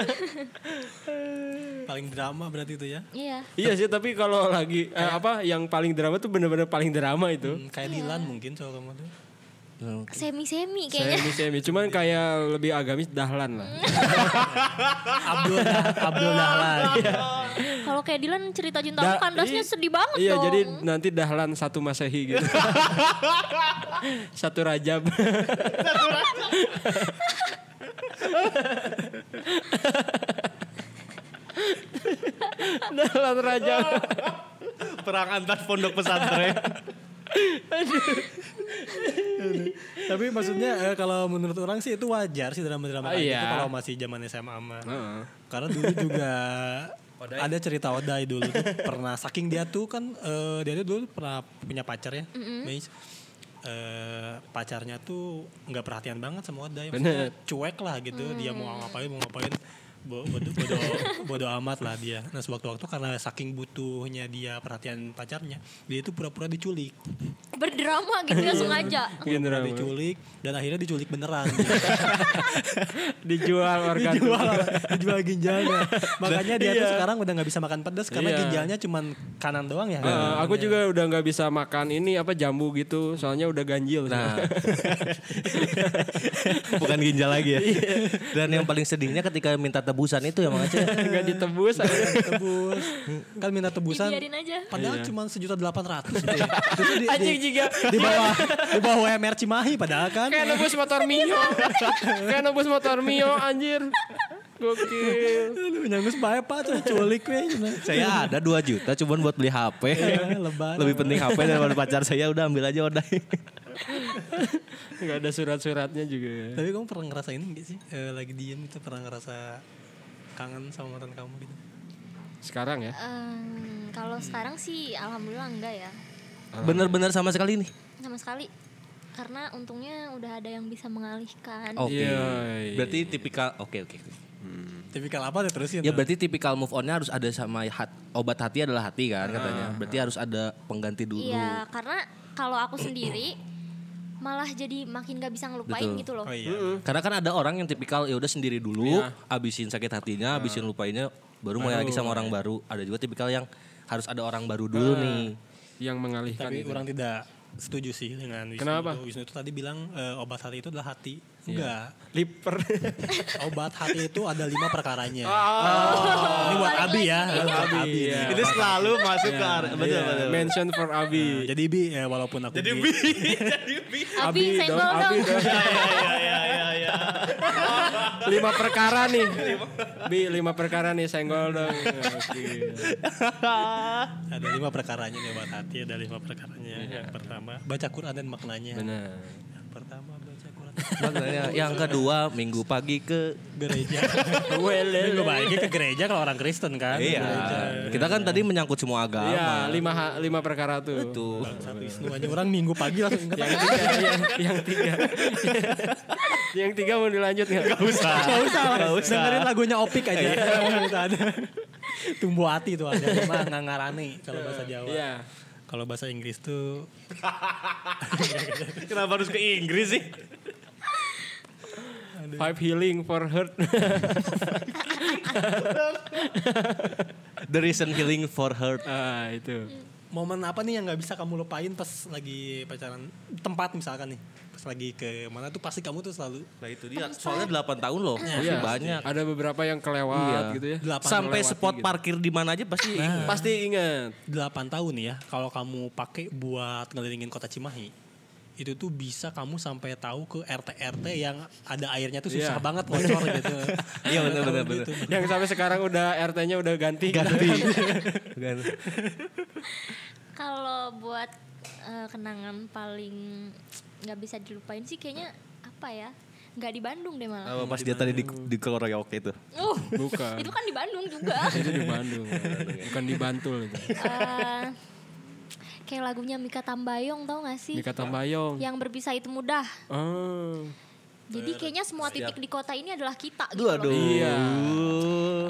Paling drama berarti itu ya. iya. iya sih, tapi kalau lagi eh, apa yang paling drama tuh bener-bener paling drama itu. Hmm, kayak Dilan mungkin soal kamu tuh. Semi-semi Saya kayaknya. Hmm, ini semi, cuman kayak lebih agamis dahlan lah. Abdul, Abdul Dahlan. Iya. Kalau kayak Dilan cerita cinta Da- aku kandasnya i- sedih banget Iya, dong. jadi nanti dahlan satu masehi gitu. satu rajab. dahlan rajab. Perang antar pondok pesantren. Tapi maksudnya eh, kalau menurut orang sih itu wajar sih Ah, drama-drama kayak iya. gitu kalau masih zaman SMA mah. Karena dulu juga ada cerita Odai dulu tuh pernah saking dia tuh kan eh, dia tuh dulu pernah punya pacar ya. Mace. Eh, pacarnya tuh nggak perhatian banget sama Odai, maksudnya cuek lah gitu. Dia mau ngapain mau ngapain bo- bodo, bodo, bodo amat lah dia. Nah sewaktu-waktu karena saking butuhnya dia perhatian pacarnya, dia itu pura-pura diculik Berdrama Iya. gitu nggak sengaja. Mungkin pura-pura drama. diculik dan akhirnya diculik beneran Dijual organ. dijual dijual ginjalnya makanya dia tuh Iya. sekarang udah nggak bisa makan pedas karena Iya. ginjalnya cuman kanan doang ya Eh, aku juga udah nggak bisa makan ini apa jambu gitu, soalnya udah ganjil. Nah, Bukan ginjal lagi ya. Iya. Dan yang paling sedihnya ketika minta tebusan itu ya Mang Aceh. nggak ditebus. akhirnya. tebus kan minta tebusan Dibiarin aja. padahal cuman sejuta delapan ratus itu tuh di, di, Anjing juga di bawah di bawah UMR Cimahi padahal kan kayak nebus motor Mio, kayak nebus motor Mio anjir. Gokil. Aduh, nyanggus bae pak tuh diculik weh Saya ada 2 juta cuman buat beli HP. Iya, lebaran. Lebih penting HP daripada pacar saya udah ambil aja odai. Nggak ada surat-suratnya juga. tapi kamu pernah ngerasain nggak sih Eh, lagi diem itu pernah ngerasa kangen sama mantan kamu gitu Sekarang ya. Em, kalau sekarang sih alhamdulillah enggak ya. Bener-bener sama sekali nih. Sama sekali. Karena untungnya udah ada yang bisa mengalihkan. Oke. Iya. Berarti tipikal oke oke. tipikal apa tuh terusin Ya berarti tipikal move on-nya harus ada sama hat- obat hati Iya. adalah hati kan katanya. Berarti harus ada pengganti dulu. Iya, karena kalau aku sendiri malah jadi makin gak bisa ngelupain Betul. gitu loh. Oh iya. Karena kan ada orang yang tipikal ya udah sendiri dulu, abisin sakit hatinya, abisin lupainnya, Iya. baru mulai lagi sama orang baru. Ada juga tipikal yang harus ada orang baru dulu nih. yang mengalihkan Tapi itu. orang tidak setuju sih dengan Wisnu. Kenapa? Itu. Wisnu itu tadi bilang eh, obat hati itu adalah hati. Enggak. Liper. Obat hati itu ada lima perkaranya. Ini buat Abi ya. Buat Abi. Iya. Itu selalu masuk ke area. Betul, Iya, betul. Mention for Abi. Jadi Bi, eh, walaupun aku Jadi Abi, senggol dong, dong. Abi dong. iya, lima perkara nih. Bi, lima perkara nih, senggol dong. Oke. ada lima perkaranya nih obat hati. Ada lima perkaranya. Iya. Yang pertama baca Quran dan maknanya. Benar. Yang pertama baca Quran. Makanya yang kedua minggu pagi ke gereja. Welele. Minggu baiknya ke gereja kalau orang Kristen kan. Gereja. Iya. Kita kan tadi menyangkut semua agama. Iya, lima, ha- lima perkara tuh. Tuh. Satu Wisnu aja orang minggu pagi langsung ingat Yang tiga, yang, yang tiga. yang tiga mau dilanjut nggak? Gak usah. Gak usah. Gak usah. Dengerin lagunya Opik aja. Iya. Itu ada. Tumbuh hati tuh ada. Cuma ngangarani kalau bahasa Jawa. Iya. Kalau bahasa Inggris tuh Kenapa harus ke Inggris sih? Five healing for hurt. The reason healing for hurt. ah, itu. momen apa nih yang nggak bisa kamu lupain pas lagi pacaran tempat misalkan nih pas lagi ke mana tuh pasti kamu tuh selalu Nah itu dia. Soalnya 8 tahun loh, Iya, masih banyak. Ada beberapa yang kelewat gitu ya. Delapan Sampai terlewati spot gitu. parkir di mana aja pasti ingat. Pasti ingat. 8 tahun nih ya kalau kamu pakai buat ngelilingin kota Cimahi itu tuh bisa kamu sampai tahu ke RT-RT yang ada airnya tuh Iya. susah banget bocor gitu. Iya benar benar benar. Gitu. Yang sampai sekarang udah RT-nya udah ganti. Kalau buat eh, kenangan paling nggak bisa dilupain sih kayaknya apa ya? Nggak di Bandung deh malah. Apa Nah, pas dia tadi di di Koroyok itu. Uh, Oh. Bukan. itu kan di Bandung juga. Itu di Bandung. Bukan di Bantul itu. Eh, kayak lagunya Mika Tambayong tau gak sih? Mika Tambayong. Yang berpisah itu mudah. Oh. Jadi kayaknya semua titik di kota ini adalah kita Aduh, gitu loh. aduh. Iya.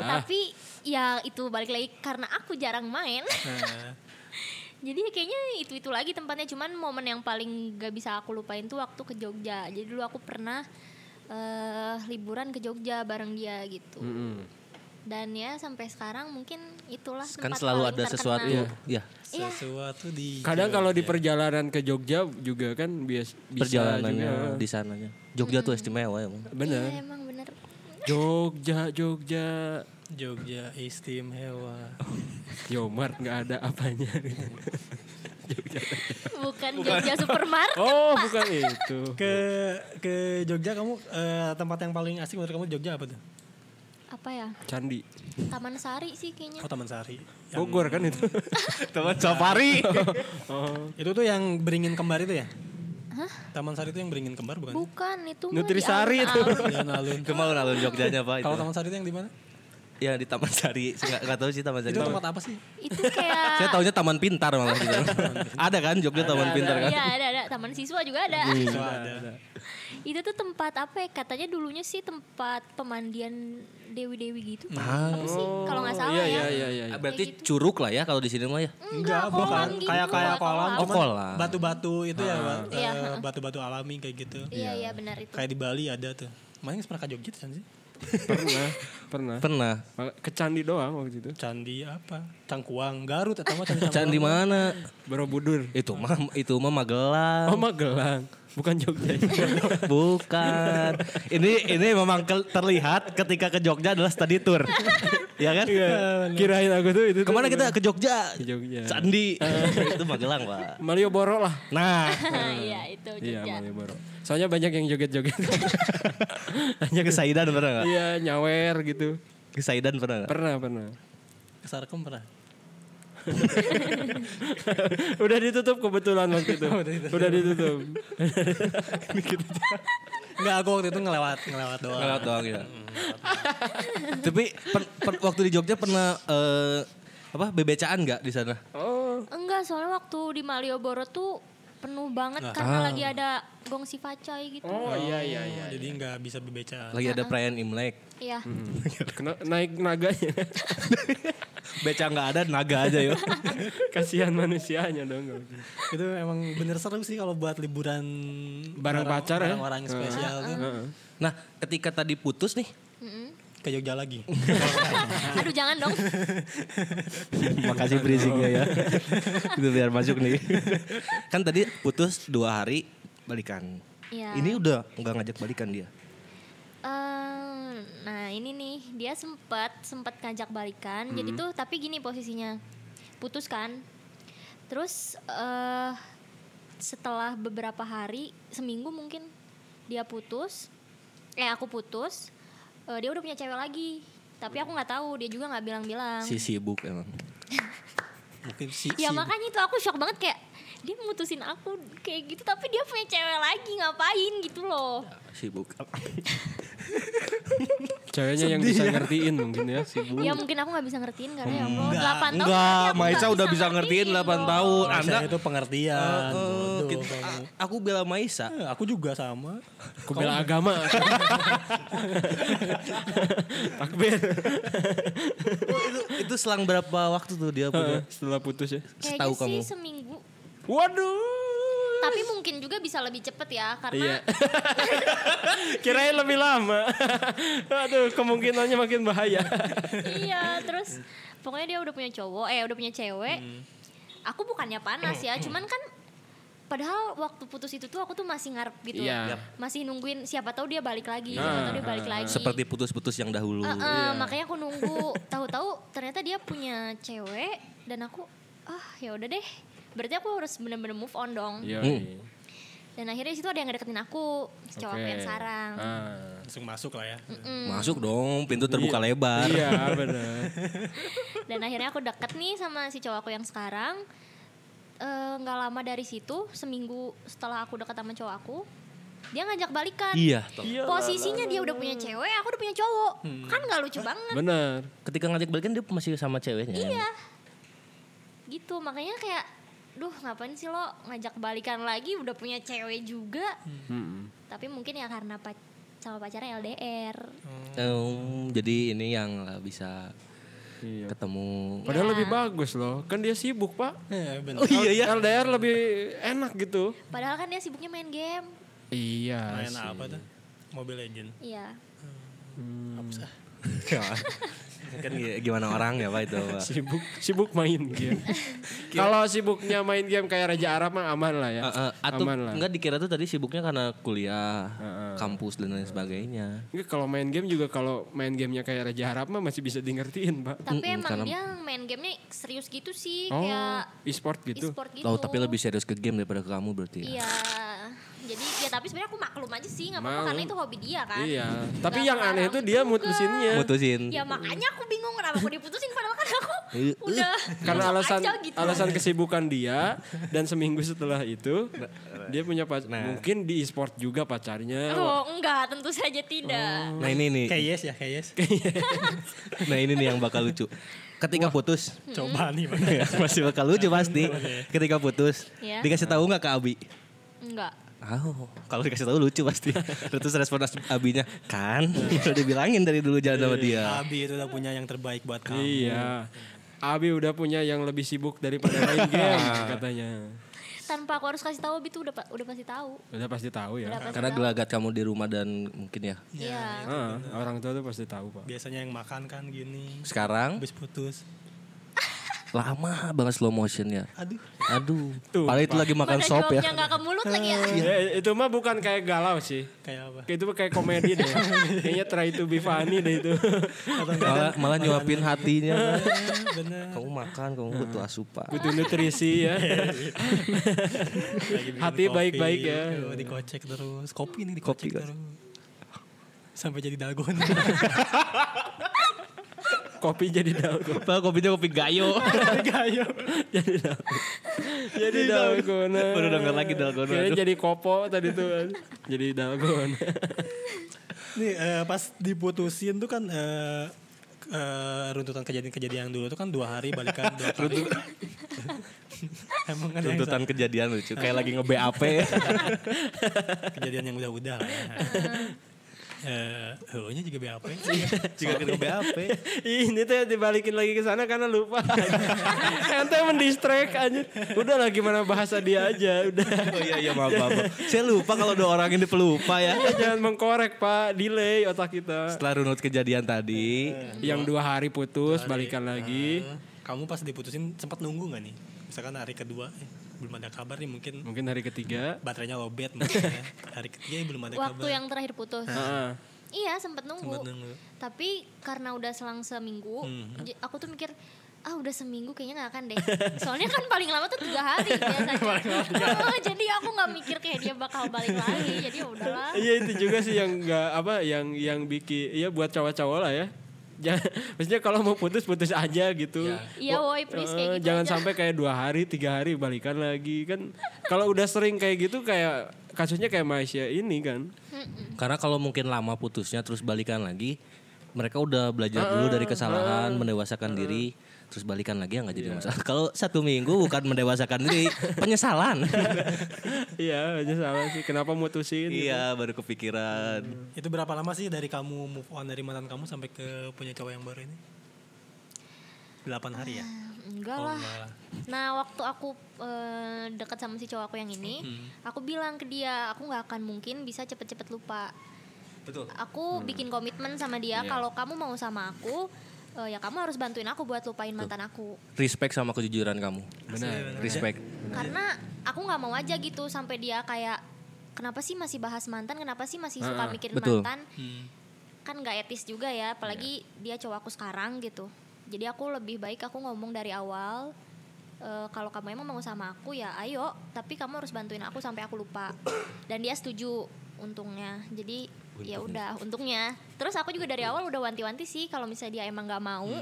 Tapi ya itu balik lagi karena aku jarang main. Nah. Nah, Jadi ya kayaknya itu-itu lagi tempatnya cuman momen yang paling gak bisa aku lupain tuh waktu ke Jogja. Jadi dulu aku pernah eh, liburan ke Jogja bareng dia gitu. Hmm. Dan ya sampai sekarang mungkin itulah Kan tempat selalu paling ada terkenal. sesuatu. Iya. Iya. Iya. Sesuatu di Kadang kalau di perjalanan ke Jogja juga kan bias bisa Perjalanannya juga. di sananya. Jogja tuh istimewa emang. Bener. Iya, emang bener. Jogja, Jogja. Jogja istimewa. Yomart nggak ada apanya. Bukan Jogja supermarket. Oh, bukan itu. Ke ke Jogja kamu eh, tempat yang paling asik menurut kamu Jogja apa tuh? Apa ya? Candi. Taman Sari sih kayaknya. Oh Taman Sari. Yang- Bogor kan itu. Teman safari. Oh, Itu tuh yang beringin kembar itu ya? Taman Sari itu yang beringin kembar bukan? Bukan itu mah di Nutrisari itu. alun-alun. Jalan alun. Kemau alun Jogjanya Pak itu. Kalau Taman Sari itu yang di mana? Ya di Taman Sari. Enggak enggak tahu sih Taman Sari. Itu tempat apa sih? Itu Saya kayak taunya Taman Pintar malah gitu. ada kan Jogja Taman Pintar kan? Iya ada ada taman siswa juga ada. Itu ada. itu tuh tempat apa ya? Katanya dulunya sih tempat pemandian dewi-dewi gitu. Apa sih? Kalau nggak salah Iya, ya. iya, iya, iya. Ah, Berarti curug lah ya kalau di sini mah ya. Enggak, kolam gitu. Kayak kayak kolam, Oh, cuman kolam. batu-batu itu Ah. ya, ba- Iya, eh, heeh. batu-batu alami kayak gitu. Iya iya benar itu. Kayak di Bali ada tuh. Mana pernah ke Jogja tuh, Candi? Pernah, pernah. Pernah. Ke Candi doang waktu itu. Candi apa? Cangkuang, Garut atau apa Candi Candi mana? Borobudur. Itu mah itu mah Magelang. Oh, Magelang. Bukan Jogja. Bukan. Ini ini memang ke- terlihat ketika ke Jogja adalah study tour. ya kan? Kirain aku tuh itu. tuh Kemana kita ke Iya. Jogja? Ke Jogja. Candi. itu Magelang, Pak. Malioboro lah. Nah, Iya itu Iya, Jogja. Malioboro. Soalnya banyak yang joget-joget. hanya ke Saidan pernah nggak? Iya, nyawer gitu. Ke Saidan pernah nggak? Pernah, pernah. Ke Sarkem pernah? Udah ditutup kebetulan waktu itu. Udah ditutup. Enggak, aku waktu itu ngelewat, ngelewat doang. Ngelewat doang ya. Tapi per- per- waktu di Jogja pernah eh, apa bebecaan nggak di sana? Oh, Enggak, soalnya waktu di Malioboro tuh penuh banget karena lagi ada gong si facai gitu. Oh iya iya iya. jadi nggak bisa berbicara Lagi ada perayaan Imlek. Iya. Kena, naik naganya. Beca nggak ada, naga aja yuk. Kasihan manusianya dong. kalau gitu. itu emang bener seru sih kalau buat liburan Bareng pacar ya? orang spesial tuh Ah. Nah, ketika tadi putus nih, ke Jogja lagi Aduh jangan dong. makasih briefingnya ya. Itu biar masuk nih. kan tadi putus dua hari balikan. Iya. Ini udah nggak ngajak balikan dia. Eh, nah ini nih dia sempat sempat ngajak balikan. Jadi tuh tapi gini posisinya putus kan. Terus eh setelah beberapa hari seminggu mungkin dia putus. Eh aku putus. Eh, dia udah punya cewek lagi. Tapi aku nggak tahu. Dia juga nggak bilang-bilang. Si sibuk emang. mungkin si, Ya si- makanya itu aku shock banget kayak dia mutusin aku kayak gitu tapi dia punya cewek lagi ngapain gitu loh. Sibuk. Ceweknya yang bisa ngertiin mungkin ya sibuk. Ya mungkin aku nggak bisa ngertiin karena ya Allah Iya, 8 tahun berarti Enggak, aku Maica nggak udah bisa ngertiin 8 dong. tahun. Anda Biasanya itu Oh, pengertian bodoh Gitu. kamu. A- aku bela Maisa. Eh, aku juga sama Aku bela agama. Takbir. itu, itu selang berapa waktu tuh dia punya? Setelah putus ya. Kayaknya Setahu gitu sih kamu. seminggu. Waduh. Tapi mungkin juga bisa lebih cepet Iya. ya karena Kirain lebih lama. Aduh, kemungkinannya makin bahaya. iya terus pokoknya dia udah punya cowok eh udah punya cewek. Hmm. Aku bukannya panas ya, cuman kan padahal waktu putus itu tuh aku tuh masih ngarep gitu. Iya. Masih nungguin siapa tahu dia balik lagi, siapa tahu dia balik lagi. Nah. Seperti putus-putus yang dahulu. Eh, eh, iya. makanya aku nunggu tahu-tahu ternyata dia punya cewek dan aku ah ya udah deh berarti aku harus bener-bener move on dong Iya. Hmm. dan akhirnya di situ ada yang ngedeketin aku si cowok aku yang sarang Ah. langsung masuk lah ya Masuk dong, pintu terbuka lebar. Iya, benar. dan akhirnya aku deket nih sama si cowok aku yang sekarang Eh, nggak lama dari situ seminggu setelah aku deket sama cowok aku dia ngajak balikan Iya. posisinya dia udah punya cewek aku udah punya cowok Hmm. kan nggak lucu banget Benar. Ketika ngajak balikan dia masih sama ceweknya. Iya. Gitu, makanya kayak duh ngapain sih lo ngajak balikan lagi udah punya cewek juga. Hmm. Tapi mungkin ya karena pac sama pacarnya LDR. Em, jadi ini yang nggak bisa Iya. ketemu. Padahal lebih bagus loh. Kan dia sibuk, Pak. ya bener Iya. Oh iya ya. LDR lebih enak gitu. Padahal kan dia sibuknya main game. Iya. main apa tuh Mobile Legend Iya. Ya. kan gi- gimana orang ya Pak itu. Pak? Sibuk sibuk main game. Kalau sibuknya main game kayak Raja Arab mah aman lah ya. Eh, eh, atau aman lah. enggak dikira tuh tadi sibuknya karena kuliah, kampus dan lain sebagainya. Enggak, kalau main game juga kalau main gamenya kayak Raja Arab mah masih bisa diingertiin, Pak. Tapi Mm-mm, emang karena- dia main gamenya serius gitu sih Oh, kayak e-sport gitu. e-sport gitu. Oh, tapi lebih serius ke game daripada ke kamu berarti. ya? Iya. Jadi ya tapi sebenarnya aku maklum aja sih nggak apa-apa Mau. karena itu hobi dia kan. Iya. Tapi Nggak yang aneh itu ngelarang dia juga. mutusinnya. Mutusin. Ya makanya aku bingung kenapa aku diputusin padahal kan aku Iya. udah karena masuk alasan aja gitu. alasan kesibukan dia dan seminggu setelah itu dia punya pacar mungkin di e-sport juga pacarnya Oh enggak, tentu saja tidak. Nah ini nih, kayak yes ya kayak yes nah ini nih yang bakal lucu. Ketika putus, coba nih Bang. masih bakal lucu pasti. Ketika putus, Iya. dikasih tahu nggak ke Abi? Enggak. Oh, kalau dikasih tahu lucu pasti. Terus respon Abinya, kan? Udah dibilangin dari dulu jalan sama dia. Abi itu udah punya yang terbaik buat kamu iya Abi udah punya yang lebih sibuk daripada main game katanya Tanpa aku harus kasih tahu Abi tuh udah pa- udah pasti tahu. udah pasti tahu ya Udah pasti Karena tahu. gelagat kamu di rumah dan mungkin ya. Iya. Ah, orang tua tuh pasti tahu pak biasanya yang makan kan gini Sekarang habis putus lama banget slow motionnya. aduh Aduh, Tuh, padahal itu lagi makan Mana sop ya. jawabnya nggak ke mulut lagi ya. Ya, itu mah bukan kayak galau sih kayak apa Kayak itu mah kayak komedi deh kayaknya try to be funny deh itu atau enggak Malah, malah nyuapin hatinya. bener kamu makan, kamu butuh asupan. butuh nutrisi ya Lagi bikin Hati kopi, baik-baik ya. aduh, iya, dikocek terus kopi nih dikocek Kopi, guys. terus sampai jadi dalgona kopi jadi daun Padahal kopinya kopi gayo. gayo jadi dalgona Baru denger lagi dalgona. Kayaknya jadi kopo tadi tuh jadi dalgona Nih eh, pas diputusin tuh kan eh, eh, runtutan kejadian-kejadian yang dulu tuh kan dua hari balikan dua kali. Emang ada yang Tuntutan kejadian lucu. Kayak lagi nge-BAP ya. sa- kejadian yang udah-udah lah. ya. Eh, heunya juga BAP. Iya. Jika kena BAP. Ih, Ini tuh dibalikin lagi ke sana karena lupa. Ente mendistract aja. Udah lah gimana bahasa dia aja. Udah Oh iya iya maaf maaf. maaf. Saya lupa kalau dua orang ini pelupa ya. Iya, jangan mengkorek pak. Delay otak kita. Setelah runut kejadian tadi, Yang dua hari putus balikan lagi. Kamu pas diputusin sempat nunggu nggak nih? Misalkan hari kedua eh, belum ada kabar nih mungkin Mungkin hari ketiga. baterainya lowbat mungkin ya. Hari ketiga ya belum ada Waktu kabar. yang terakhir putus. Heeh. Iya sempet nunggu. Sempat nunggu. Tapi karena udah selang seminggu, j- aku tuh mikir ah udah seminggu kayaknya nggak akan deh. Soalnya kan paling lama tuh tiga hari biasanya. Oh, jadi aku nggak mikir kayak dia bakal balik lagi. Jadi ya udahlah. Iya itu juga sih yang nggak apa yang yang bikin ya buat cowok-cowok lah ya. Jangan, maksudnya kalau mau putus putus aja gitu. Iya, woy, please, kayak Eh, gitu Jangan aja. sampai kayak dua hari tiga hari balikan lagi kan. kalau udah sering kayak gitu kayak kasusnya kayak Malaysia ini kan. karena kalau mungkin lama putusnya terus balikan lagi, mereka udah belajar dulu dari kesalahan, mendewasakan diri, terus balikan lagi ya nggak jadi masalah. Kalau satu minggu bukan mendewasakan diri, penyesalan. Iya aja salah sih. Kenapa mutusin? gitu. iya baru kepikiran. Itu berapa lama sih dari kamu move on dari mantan kamu sampai ke punya cowok yang baru ini? 8 hari ya? Enggak Oh, lah. enggak lah. Nah waktu aku eh, deket sama si cowok aku yang ini, Hmm. aku bilang ke dia aku nggak akan mungkin bisa cepet-cepet lupa. Betul. Hmm. Aku bikin komitmen sama Iya. dia kalau kamu mau sama aku, eh, ya kamu harus bantuin aku buat lupain mantan aku. Respect sama kejujuran kamu. Iya. Benar. Respect. Karena aku nggak mau aja gitu sampai dia kayak kenapa sih masih bahas mantan, kenapa sih masih Ah, suka mikirin betul. mantan? Hmm. Kan nggak etis juga ya, apalagi dia cowok aku sekarang gitu. Jadi aku lebih baik aku ngomong dari awal. eh, kalau kamu emang mau sama aku ya ayo, tapi kamu harus bantuin aku sampai aku lupa. Dan dia setuju untungnya. Jadi ya udah untungnya. Terus aku juga dari awal udah wanti-wanti sih kalau misalnya dia emang nggak mau,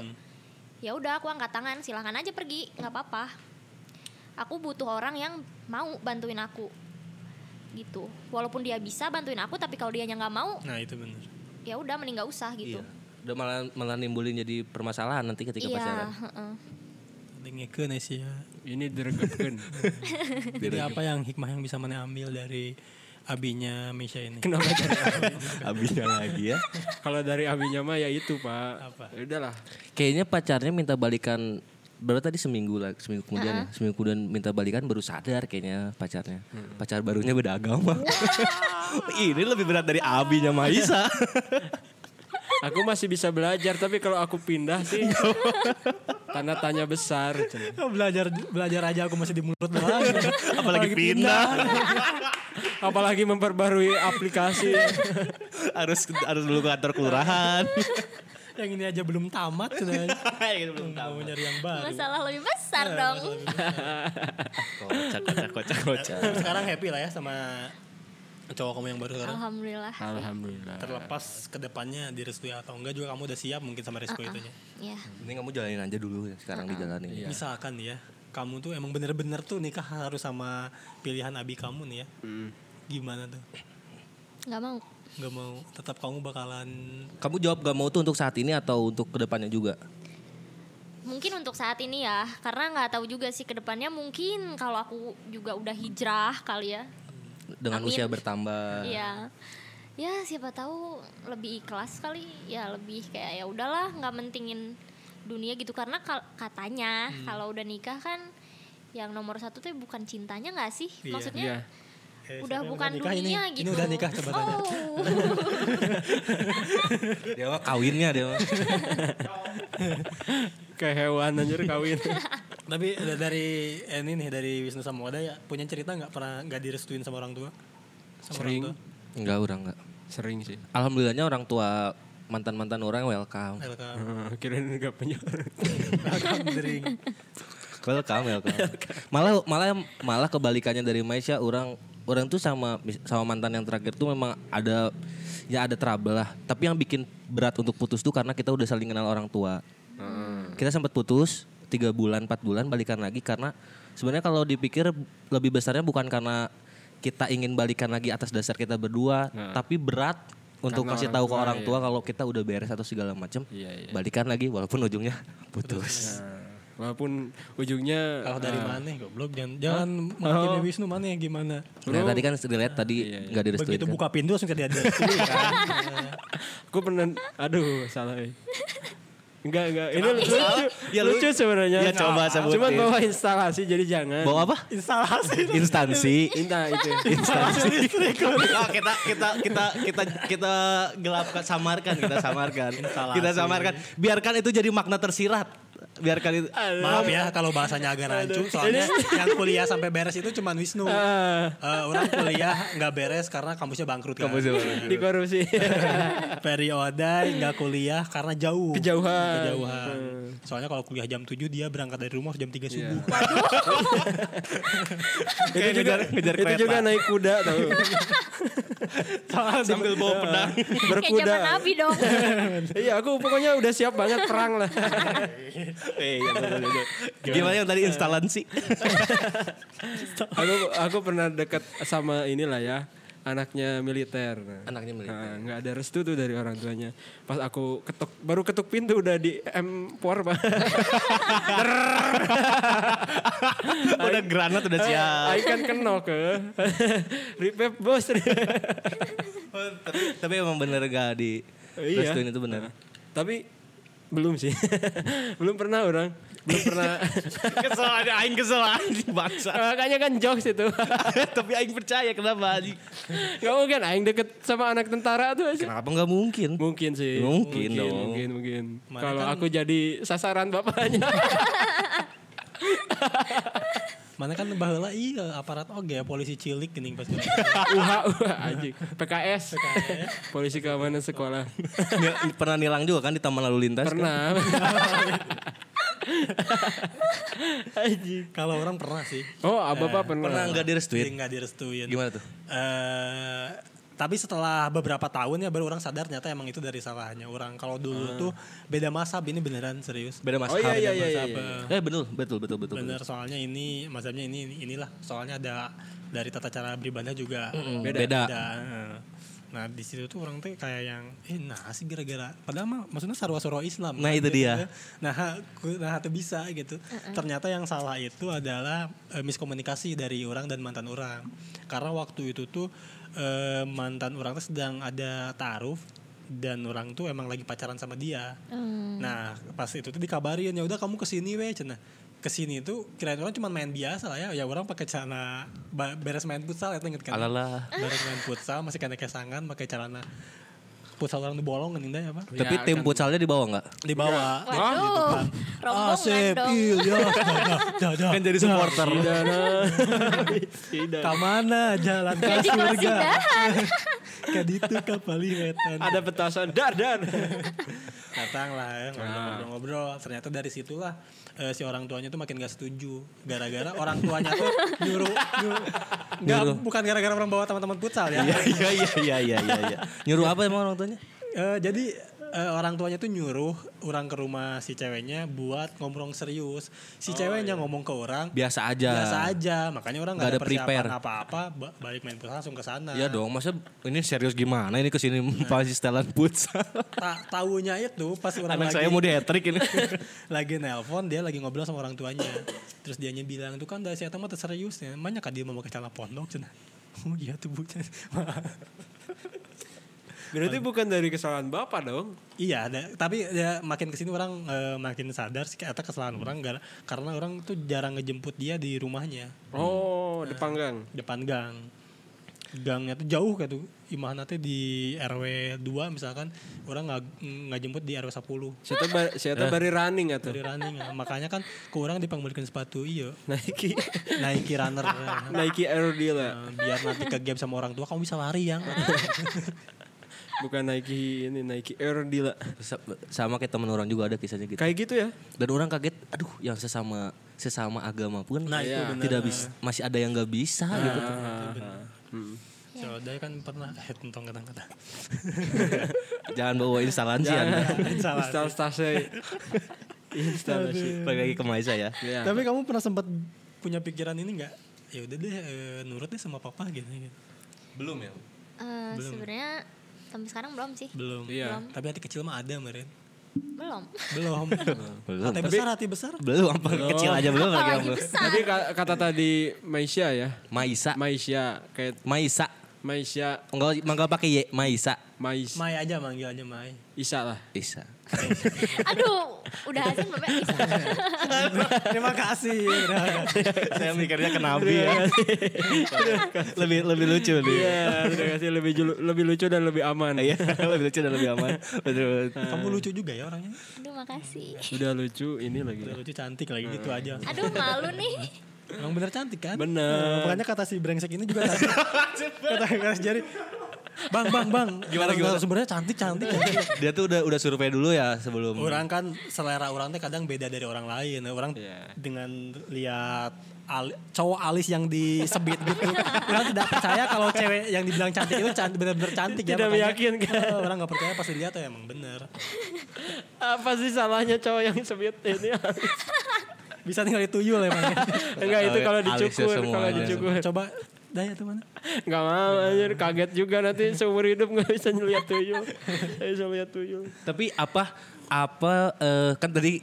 ya udah aku angkat tangan, silahkan aja pergi, nggak apa-apa. Aku butuh orang yang mau bantuin aku gitu. Walaupun dia bisa bantuin aku, tapi kalau dia nggak mau, Nah itu benar. ya udah mending nggak usah gitu. Iya. Udah malah malah nimbulin jadi permasalahan nanti ketika Iya. pacaran. heeh. Dengekeun eh, sih ya. Ini diregepkan. Jadi apa yang hikmah yang bisa mana ambil dari abinya Misha ini? Kenapa? Abisnya lagi ya. kalau dari abinya mah ya itu pak. Apa? Ya Udahlah. Kayaknya pacarnya minta balikan baru tadi seminggu lah, seminggu kemudian ya. Seminggu kemudian minta balikan baru sadar kayaknya pacarnya. Pacar barunya beda agama. Ini lebih berat dari abinya Maisa. Aku masih bisa belajar tapi kalau aku pindah sih tanda tanya besar. belajar belajar aja aku masih di mulut doang. Apalagi pindah. Apalagi memperbarui aplikasi. harus harus dulu ke kantor kelurahan. yang ini aja belum tamat sudah. yang belum tamat. Mau nyari yang baru. Masalah lebih besar Iya, dong. kocak kocak kocak kocak. Sekarang happy lah ya sama cowok kamu yang baru Ah. sekarang. Alhamdulillah. Alhamdulillah. Terlepas kedepannya direstui atau enggak juga kamu udah siap mungkin sama resiko itunya. Ya. Ini kamu jalanin aja dulu ya, sekarang dijalanin. Misalkan ya, kamu tuh emang bener-bener tuh nikah harus sama pilihan abi kamu nih ya. Gimana tuh? nggak mau. Gak mau tetap kamu bakalan Kamu jawab gak mau tuh untuk saat ini atau untuk kedepannya juga? Mungkin untuk saat ini ya, karena nggak tahu juga sih kedepannya mungkin kalau aku juga udah hijrah kali ya. Dengan Amin. usia bertambah. Eh. Iya. Ya siapa tahu lebih ikhlas kali, ya lebih kayak ya udahlah nggak mentingin dunia gitu karena kal- katanya Hmm. kalau udah nikah kan yang nomor satu tuh bukan cintanya nggak sih? Iya. Maksudnya Iya. eh, udah siapa yang bukan nikah dunia ini? gitu. Ini udah nikah coba tanya. Oh. Dia mah kawinnya dia mah. Kayak hewan anjir kawin. Tapi da- dari eh, ini nih dari Wisnu sama Wada ya punya cerita nggak pernah nggak direstuin sama orang tua? Sama Sering. Orang Enggak, udah enggak. Sering sih. Alhamdulillahnya orang tua mantan-mantan orang welcome. tua? Welcome. Eh, Kirain gak punya. Welcome drink. Welcome, welcome. malah malah malah kebalikannya dari Maisha orang orang tuh sama sama mantan yang terakhir tuh memang ada ya ada trouble lah. Tapi yang bikin berat untuk putus tuh karena kita udah saling kenal orang tua. Hmm. Kita sempat putus tiga bulan empat bulan balikan lagi karena sebenarnya kalau dipikir lebih besarnya bukan karena kita ingin balikan lagi atas dasar kita berdua, tapi berat untuk Nah. Karena kasih orang tahu ke tua, orang iya. tua kalau kita udah beres atau segala macam Iya, iya. balikan lagi walaupun ujungnya putus Walaupun ujungnya Kalau dari Ah. mana goblok jangan jangan mati Oh. Dewi Wisnu mana yang gimana. Nah, tadi kan dilihat tadi nggak direstuin. Begitu kan? buka pintu langsung jadi ada. Iya. Gue pernah, aduh salah. eh. Enggak, enggak. Ini lucu, Ya, lu- lucu sebenarnya. Ah, Ya, coba sebutin. Cuman bawa instalasi jadi jangan. Bawa apa? Instalasi. Instansi. Inta itu. Ah, kita kita kita kita kita gelapkan samarkan kita samarkan kita samarkan biarkan itu jadi makna tersirat biarkan itu Maaf ya kalau bahasanya agak rancu soalnya yang kuliah sampai beres itu cuma Wisnu. Ah. Eh, orang kuliah nggak beres karena kampusnya bangkrut kan. Di korupsi. Periode nggak kuliah karena jauh. Kejauhan. Kejauhan. Hmm. Soalnya kalau kuliah jam 7 dia berangkat dari rumah jam 3 subuh. itu juga, ngejar itu kereta. juga naik kuda tau. Iya. sambil bawa pedang Kayak zaman Berkuda. Nabi dong. Iya, aku pokoknya udah siap banget perang lah. Eh, iya, betul, betul, betul. gimana yang tadi instansi aku aku pernah dekat sama inilah ya anaknya militer. Nah. Anaknya militer. Nah, nggak ada restu tuh dari orang tuanya. Pas aku ketuk baru ketuk pintu udah di M4 pak. udah granat udah siap Aku kan kenal ke repep bos. tapi, tapi emang bener gak di Iya. restuin itu bener Tapi belum sih, belum pernah orang, belum pernah. kesel ada aing kesel anjing bangsa Makanya kan jokes itu. tapi aing percaya kenapa anjing Gak mungkin aing deket sama anak tentara tuh aja. kenapa nggak mungkin Mungkin sih. Mungkin dong. Mungkin, mungkin. Mana Kalau kan- aku jadi sasaran bapaknya. Mana kan baheula iya aparat oge polisi cilik gini pas UH, UH anjing. PKS. Polisi keamanan sekolah. Nil- pernah nilang juga kan di taman lalu lintas kan? Pernah. anjing. Kalau orang pernah sih. Oh, ah, Bapak pernah. pernah nggak direstuin Nggak direstuin. gimana tuh eh tapi setelah beberapa tahun ya baru orang sadar ternyata emang itu dari salahnya orang. Kalau dulu Hmm. tuh beda masab ini beneran serius. beda Oh mas iya iya iya. Beda iya, mazhab, iya. eh, eh betul betul betul betul Bener soalnya ini mazhabnya ini ini- inilah soalnya ada dari tata cara beribadah juga beda. Beda, eh. Nah di situ tuh orang tuh kayak yang eh nah sih gara-gara padahal mah maksudnya sarwa-sarwa Islam. kan, Nah, gitu itu dia. ya. Nah ku- nah itu bisa gitu. Ternyata yang salah itu adalah eh, miskomunikasi dari orang dan mantan orang. Karena waktu itu tuh eh, mantan orang tuh sedang ada taaruf dan orang tuh emang lagi pacaran sama dia. Nah pas itu tuh dikabarin ya udah kamu kesini weh cenah kesini tuh kirain orang cuma main biasa lah ya ya orang pakai celana ba- beres main futsal itu inget kan Alalah. Bareng main futsal masih kena kesangan pakai celana futsal orang dibolong kan indah apa? Tapi tim futsalnya di bawah nggak? Di bawah. Gitu Waduh, rombongan Asep, dong. Nah, iya, dah, dah, Kan jadi supporter. Pidana. Kamana jalan kan? ke Jadi surga? kasidahan. Kaditu kapali wetan. Ada petasan dar dar. Datang lah ya, ngobrol-ngobrol. Ternyata dari situlah eh, si orang tuanya tuh makin gak setuju. Gara-gara orang tuanya tuh nyuruh. nyuruh. Nggak, bukan gara-gara orang bawa teman-teman futsal ya. Iya iya iya iya iya. iya. Nyuruh apa emang orang tuanya? Eh, jadi eh, orang tuanya tuh nyuruh orang ke rumah si ceweknya buat ngomong serius. Si ceweknya ngomong ke orang Oh, iya. Biasa aja. biasa aja. Makanya orang nggak ada, Nggak ada persiapan prepare. apa-apa, ba- balik main futsal langsung ke sana. Iya dong, masa ini serius gimana ini kesini pasti setelan futsal. Ta taunya itu pas orang Anak lagi saya mau di hat trick ini. lagi nelpon dia lagi ngobrol sama orang tuanya. Terus dianya bilang itu kan dari si Atang mah teu serius ya. Emangnya kak dia mau pakai celana pondok cenah. Oh iya tuh bu. Berarti bukan dari kesalahan Bapak dong. Iya, ada, tapi ya, makin kesini orang eh, makin sadar sih kata kesalahan orang gara- karena orang tuh jarang ngejemput dia di rumahnya Oh, depan gang. depan gang. Gangnya tuh jauh kayak tuh. Imahna teh di RW 2 misalkan orang nggak nggak jemput di RW 10 Siapa ba- siapa Eh. bari running atau dari running. ya. Makanya kan ke orang dipanggilkan sepatu iya Nike Nike runner ya. Nike Air Dealer. Eh, biar nanti ke game sama orang tua kamu bisa lari yang Bukan Nike ini Nike Air Dealer. Sa- Sama kayak temen orang juga ada kisahnya gitu. Kayak gitu ya. Dan orang kaget, aduh yang sesama sesama agama pun Nah, itu benar. tidak bisa masih ada yang nggak bisa gitu. Ah, Hmm. Soalnya kan pernah eh tentang kata-kata Jangan bawa instansi Anda. salah Instalasi. Instalasi. Balik lagi ke Maisa ya. Ya. tapi kamu pernah sempat punya pikiran ini nggak ya udah deh eh, nurut deh sama papa gitu, gitu. Belum ya. Eh, Sebenarnya sampai sekarang belum sih. belum Iya. tapi hati kecil mah ada meren Belum. Belum. Belum. hati besar, hati besar. Belum apa kecil aja belum lagi. Apalagi apa? besar. Tadi ka- kata tadi Maisha ya. Maisa. Maisha kayak Maisa. Maisha, Enggak enggak pakai Y, Maisa. Mais, Mai aja manggil aja Mai. Isa lah. Isa. Aduh, udah hasil belum ya? Bisa. Terima kasih. Saya mikirnya ke Nabi Iya. ya. lebih lebih lucu nih. Iya, terima kasih lebih julu- lebih lucu dan lebih aman. Iya, lebih lucu dan lebih aman. Betul. Eh. Kamu lucu juga ya orangnya. Aduh, makasih. Udah lucu ini lagi. Udah lucu cantik lagi gitu aja. Aduh, malu nih. Emang bener cantik kan? Bener. Makanya kata si brengsek ini juga cantik. kata garis jari. Bang, bang, bang. Gimana, gimana? Sebenarnya cantik, cantik. cantik. Dia tuh udah udah survei dulu ya sebelum. orang kan selera orang teh kadang beda dari orang lain. Orang Iya. dengan lihat ali- cowok alis yang disebit gitu. orang tidak percaya kalau cewek yang dibilang cantik itu cantik benar-benar cantik ya. Tidak makanya, meyakinkan. eh, orang nggak percaya pas dilihat tuh emang bener. Apa sih salahnya cowok yang sebut ini? Bisa tinggal tuyul emang. Enggak itu kalau Alisnya dicukur, semua, kalau iya. dicukur. Coba Daya tuh mana? Enggak mau anjir, kaget juga nanti seumur hidup enggak bisa lihat tuyul. Enggak bisa lihat tuyul. Tapi apa apa eh, kan tadi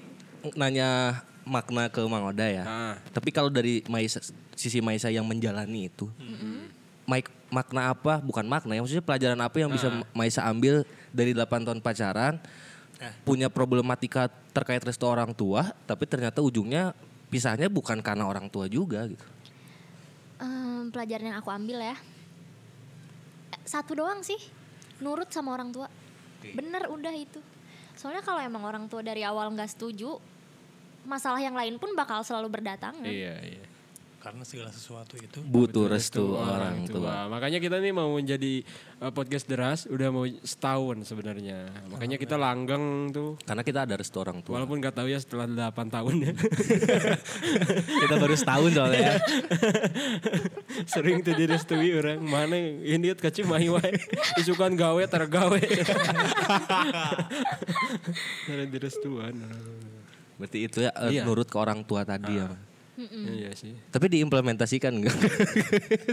nanya makna ke Mang Oda ya. Ah. Tapi kalau dari Maisa, sisi Maisa yang menjalani itu, Mm-hmm. Mike makna apa? Bukan makna ya, maksudnya pelajaran apa yang bisa Maisa ambil dari 8 tahun pacaran? Punya problematika terkait restu orang tua, tapi ternyata ujungnya pisahnya bukan karena orang tua juga gitu. Em, pelajaran yang aku ambil ya. Eh, Satu doang sih. Nurut sama orang tua. Bener udah itu. Soalnya kalau emang orang tua dari awal nggak setuju, masalah yang lain pun bakal selalu berdatangan. Iya, iya. Karena segala sesuatu itu Butuh restu orang tua. Wah, Makanya kita nih mau menjadi eh, podcast deras udah mau setahun sebenarnya. Makanya kita langgeng tuh. Karena kita ada restu orang tua. Walaupun gak tahu ya setelah 8 tahun ya. kita baru setahun soalnya. ya. Sering tuh direstui orang. Mana ini kecil mahi wae. Isukan gawe tergawe. Sering direstuan. Berarti itu ya eh, Iya. nurut ke orang tua tadi ya. Mang. Iya sih. Tapi diimplementasikan enggak?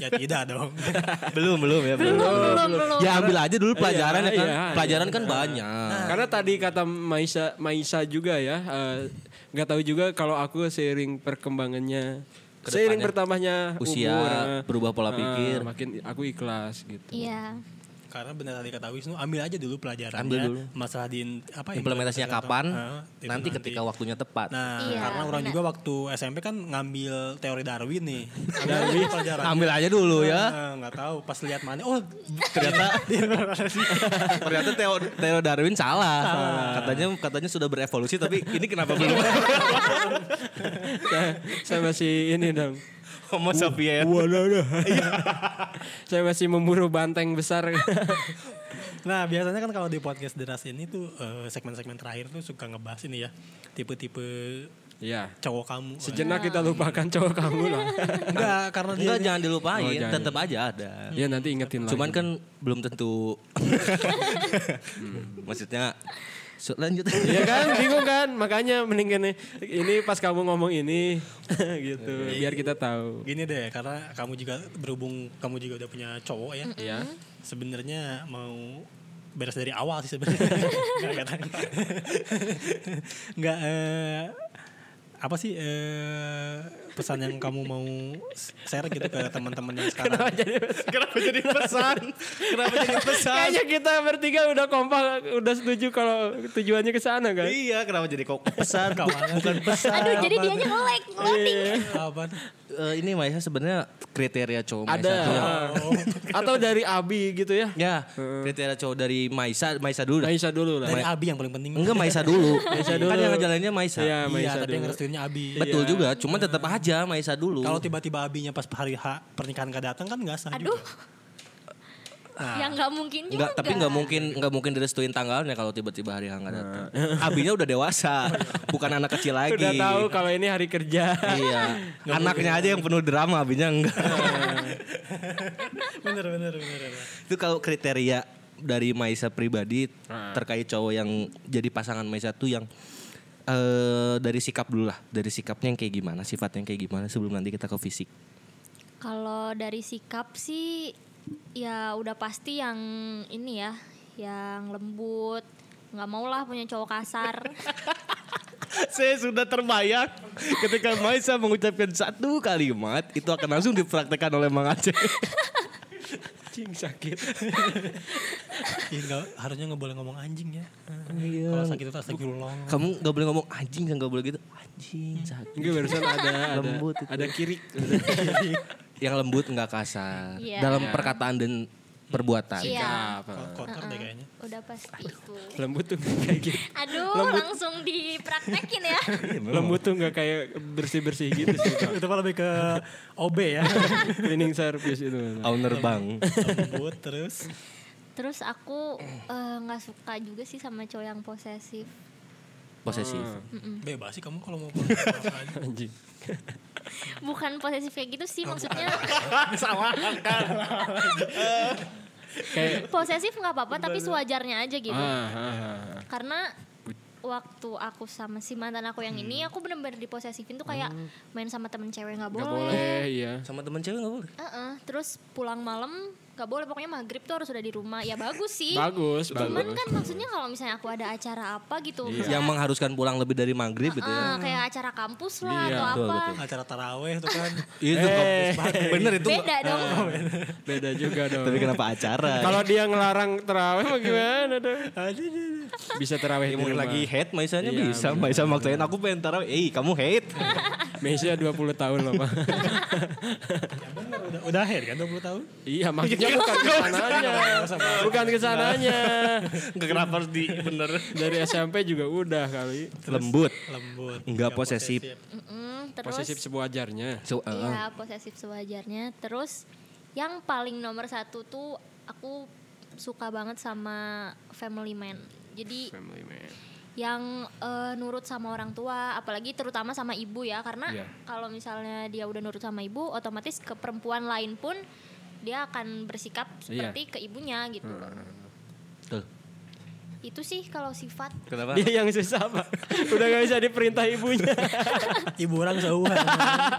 ya tidak dong. belum, belum ya. Belum, belum, belum. Ya ambil aja dulu pelajaran ya Iya, kan. iya, iya. pelajaran kan banyak. Nah, Karena tadi kata Maisa Maisa juga ya, eh, nggak tahu juga kalau aku seiring perkembangannya, seiring bertambahnya Usia, umur, eh, berubah eh, pola pikir. makin aku ikhlas gitu. Iya. Karena benar tadi kata Wisnu, ambil aja dulu pelajarannya. Ambil dulu. Masalah di iya. apa implementasi Implementasinya kapan? atau- Nah, itu nanti ketika waktunya tepat. Nah, Iya, karena orang benar. juga waktu SMP kan ngambil teori Darwin nih. Nah, Darwin pelajaran. Nah, ambil aja dulu ya. Eh, nggak tahu pas lihat mana oh Ternyata ternyata Theo, Theo Darwin salah. Katanya katanya sudah berevolusi tapi ini kenapa belum saya, saya masih ini dong. Iya. Homo sapiens? Saya masih memburu banteng besar. nah biasanya kan kalau di podcast deras ini tuh eh, segmen-segmen terakhir tuh suka ngebahas ini ya tipe-tipe ya. cowok kamu Sejenak kita lupakan cowok kamu lah. enggak karena dia Enggak jangan dilupain, Oh, jangan. tetap aja ada. ya nanti ingetin lagi. Cuman kan belum tentu. Maksudnya so, lanjut. Iya kan, bingung kan? Makanya mendingan nih, ini pas kamu ngomong ini gitu, Iya. biar kita tahu. gini deh karena kamu juga berhubung kamu juga udah punya cowok ya Ya. sebenarnya mau beres dari awal sih sebenarnya nggak kata- nggak eh, apa sih eh, pesan yang kamu mau share gitu ke teman-teman yang sekarang Kenapa jadi pesan? Kenapa jadi pesan? Kayaknya kita bertiga udah kompak, udah setuju kalau tujuannya ke sana kan? Iya, kenapa jadi kok pesan? Kawannya Bukan pesan. Aduh, jadi dianya nge-lag, loading. apa Eh, ini Maisa sebenarnya kriteria cowok Maisa Ada. tuh yang- Iya. Oh. Atau dari Abi gitu ya? Ya, kriteria cowok dari Maisa, Maisa dulu. dah. Maisa Nah, dulu lah. dari Abi yang paling penting Enggak Maisa dulu. Maisa Kan dulu. yang ngejalaninnya Maisa. Iya, iya Maisa tapi yang dulu. Iya. ngerestuinnya Abi Betul juga, cuman tetap aja Maisa dulu. kalau tiba-tiba Abinya pas hari H pernikahan gak datang kan nggak sah Aduh. juga. Yang Ah, nggak mungkin juga. Enggak, tapi enggak mungkin enggak mungkin direstuin tanggalnya kalau tiba-tiba hari hangat datang. Abinya udah dewasa, bukan anak kecil lagi. Nah. Udah tahu kalau ini hari kerja. Iya. Anaknya aja yang penuh drama, abinya enggak. bener bener bener, bener. Itu kalau kriteria dari Maisa pribadi terkait cowok yang jadi pasangan Maisa tuh yang eh dari sikap dulu lah, dari sikapnya yang kayak gimana, sifatnya yang kayak gimana sebelum nanti kita ke fisik. Kalau dari sikap sih ya udah pasti yang ini ya, yang lembut, nggak maulah punya cowok kasar. Saya sudah terbayang ketika Maisa mengucapkan satu kalimat itu akan langsung dipraktekkan oleh Mang Aceh. Cing sakit. Ih, Iya, nggak- harusnya nggak boleh ngomong anjing ya. Iya. Kalau sakit itu astagfirullah. Kamu nggak boleh ngomong anjing kan nggak boleh gitu. Anjing sakit. Mungkin barusan ada ada, Lembut itu. ada kirik. Yang lembut nggak kasar Iya. dalam perkataan dan perbuatan. Iya, Ko- Kotor deh kayaknya. udah pasti itu. Lembut tuh nggak kayak gitu. Aduh, langsung dipraktekin ya. Lembut tuh nggak kayak bersih-bersih gitu sih. Kak. itu kan lebih ke OB ya. Cleaning service itu. Kak. Owner bang. Lembut terus. Terus aku eh, nggak suka juga sih sama cowok yang posesif. Posesif. Bebas sih kamu kalau mau pulang kapan. Anjing. Bukan posesif kayak gitu sih maksudnya. Kayak Posesif nggak apa-apa tapi sewajarnya aja gitu. ah, ah, ah. Karena waktu aku sama si mantan aku yang ini aku bener-bener diposesifin tuh kayak main sama temen cewek nggak nggak boleh. boleh ya. Sama teman cewek nggak boleh. Heeh, terus pulang malam nggak boleh pokoknya maghrib tuh harus udah di rumah ya bagus sih Bagus, cuman bagus. kan maksudnya kalau misalnya aku ada acara apa gitu misalnya, Iya. Yang mengharuskan pulang lebih dari maghrib gitu ya. eh, kayak acara kampus lah Iya, atau betul, apa betul. Acara taraweh itu kan. Iya, Itu Eh. bener itu. beda dong Beda juga dong. Tapi kenapa acara? Iya. Kalau dia ngelarang terawih mau gimana dong? Bisa terawih di Ya, mungkin rumah. lagi hate Maisanya Iya, bisa. Maisa maksain aku pengen taruh. Eh kamu hate. Messi 20 tahun loh Pak. Udah, udah akhir kan 20 tahun. iya maksudnya bukan kesananya. bukan kesananya. Nggak kenapa harus di bener. Dari SMP juga udah kali. Lembut. Lembut. Nggak Iya, posesif. Mm-mm, terus Posesif sewajarnya. So, uh, iya posesif sewajarnya terus yang paling nomor satu tuh aku suka banget sama family man jadi Family man. yang eh, nurut sama orang tua, apalagi terutama sama ibu ya, karena Iya. kalau misalnya dia udah nurut sama ibu, otomatis ke perempuan lain pun dia akan bersikap Iya. Hmm. seperti ke ibunya gitu. Tuh. Itu sih kalau sifat Kenapa? Dia yang susah Pak. Udah gak bisa diperintah ibunya. Ibu orang seuah.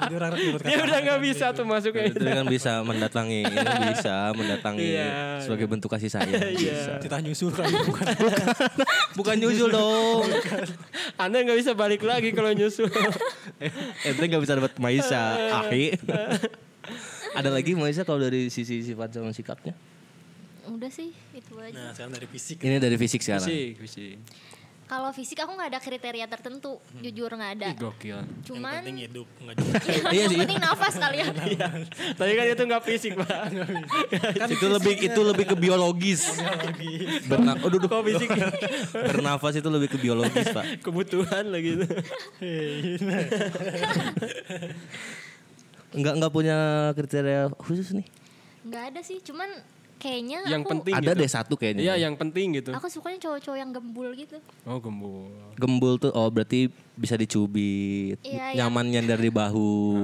Jadi orang ribut Dia udah gak bisa tuh masuknya. Itu kan bisa mendatangi, bisa mendatangi Iya. sebagai bentuk kasih sayang. Bisa. Kita nyusul kan bukan. Bukan nyusul dong. Anda gak bisa balik lagi kalau nyusul. Ente Eh, nggak bisa dapat Maisa, ahi. Ada lagi Maisa kalau dari sisi sifat sama sikapnya? udah sih itu aja. Nah, sekarang dari fisik. Ini dari fisik sekarang. Fisik, fisik. Kalau fisik aku nggak ada kriteria tertentu, jujur nggak ada. Hmm. Ih, gokil. Yang Cuman penting hidup enggak juga. Iya yang sih. penting nafas kali ya. Tadi kan itu gak fisik Pak. itu lebih itu lebih ke Kan biologis. Berna- Aduh, aduh. Kok fisik? Bernafas itu lebih ke biologis, Pak. Kebutuhan lagi itu. Enggak enggak punya kriteria khusus nih. Nggak ada sih, cuman kayaknya Yang aku penting Ada gitu. deh satu kayaknya. Iya yang penting gitu. aku sukanya cowok-cowok yang gembul gitu. Oh gembul. Gembul tuh oh berarti bisa dicubit, Iya, nyaman nyandar di bahu,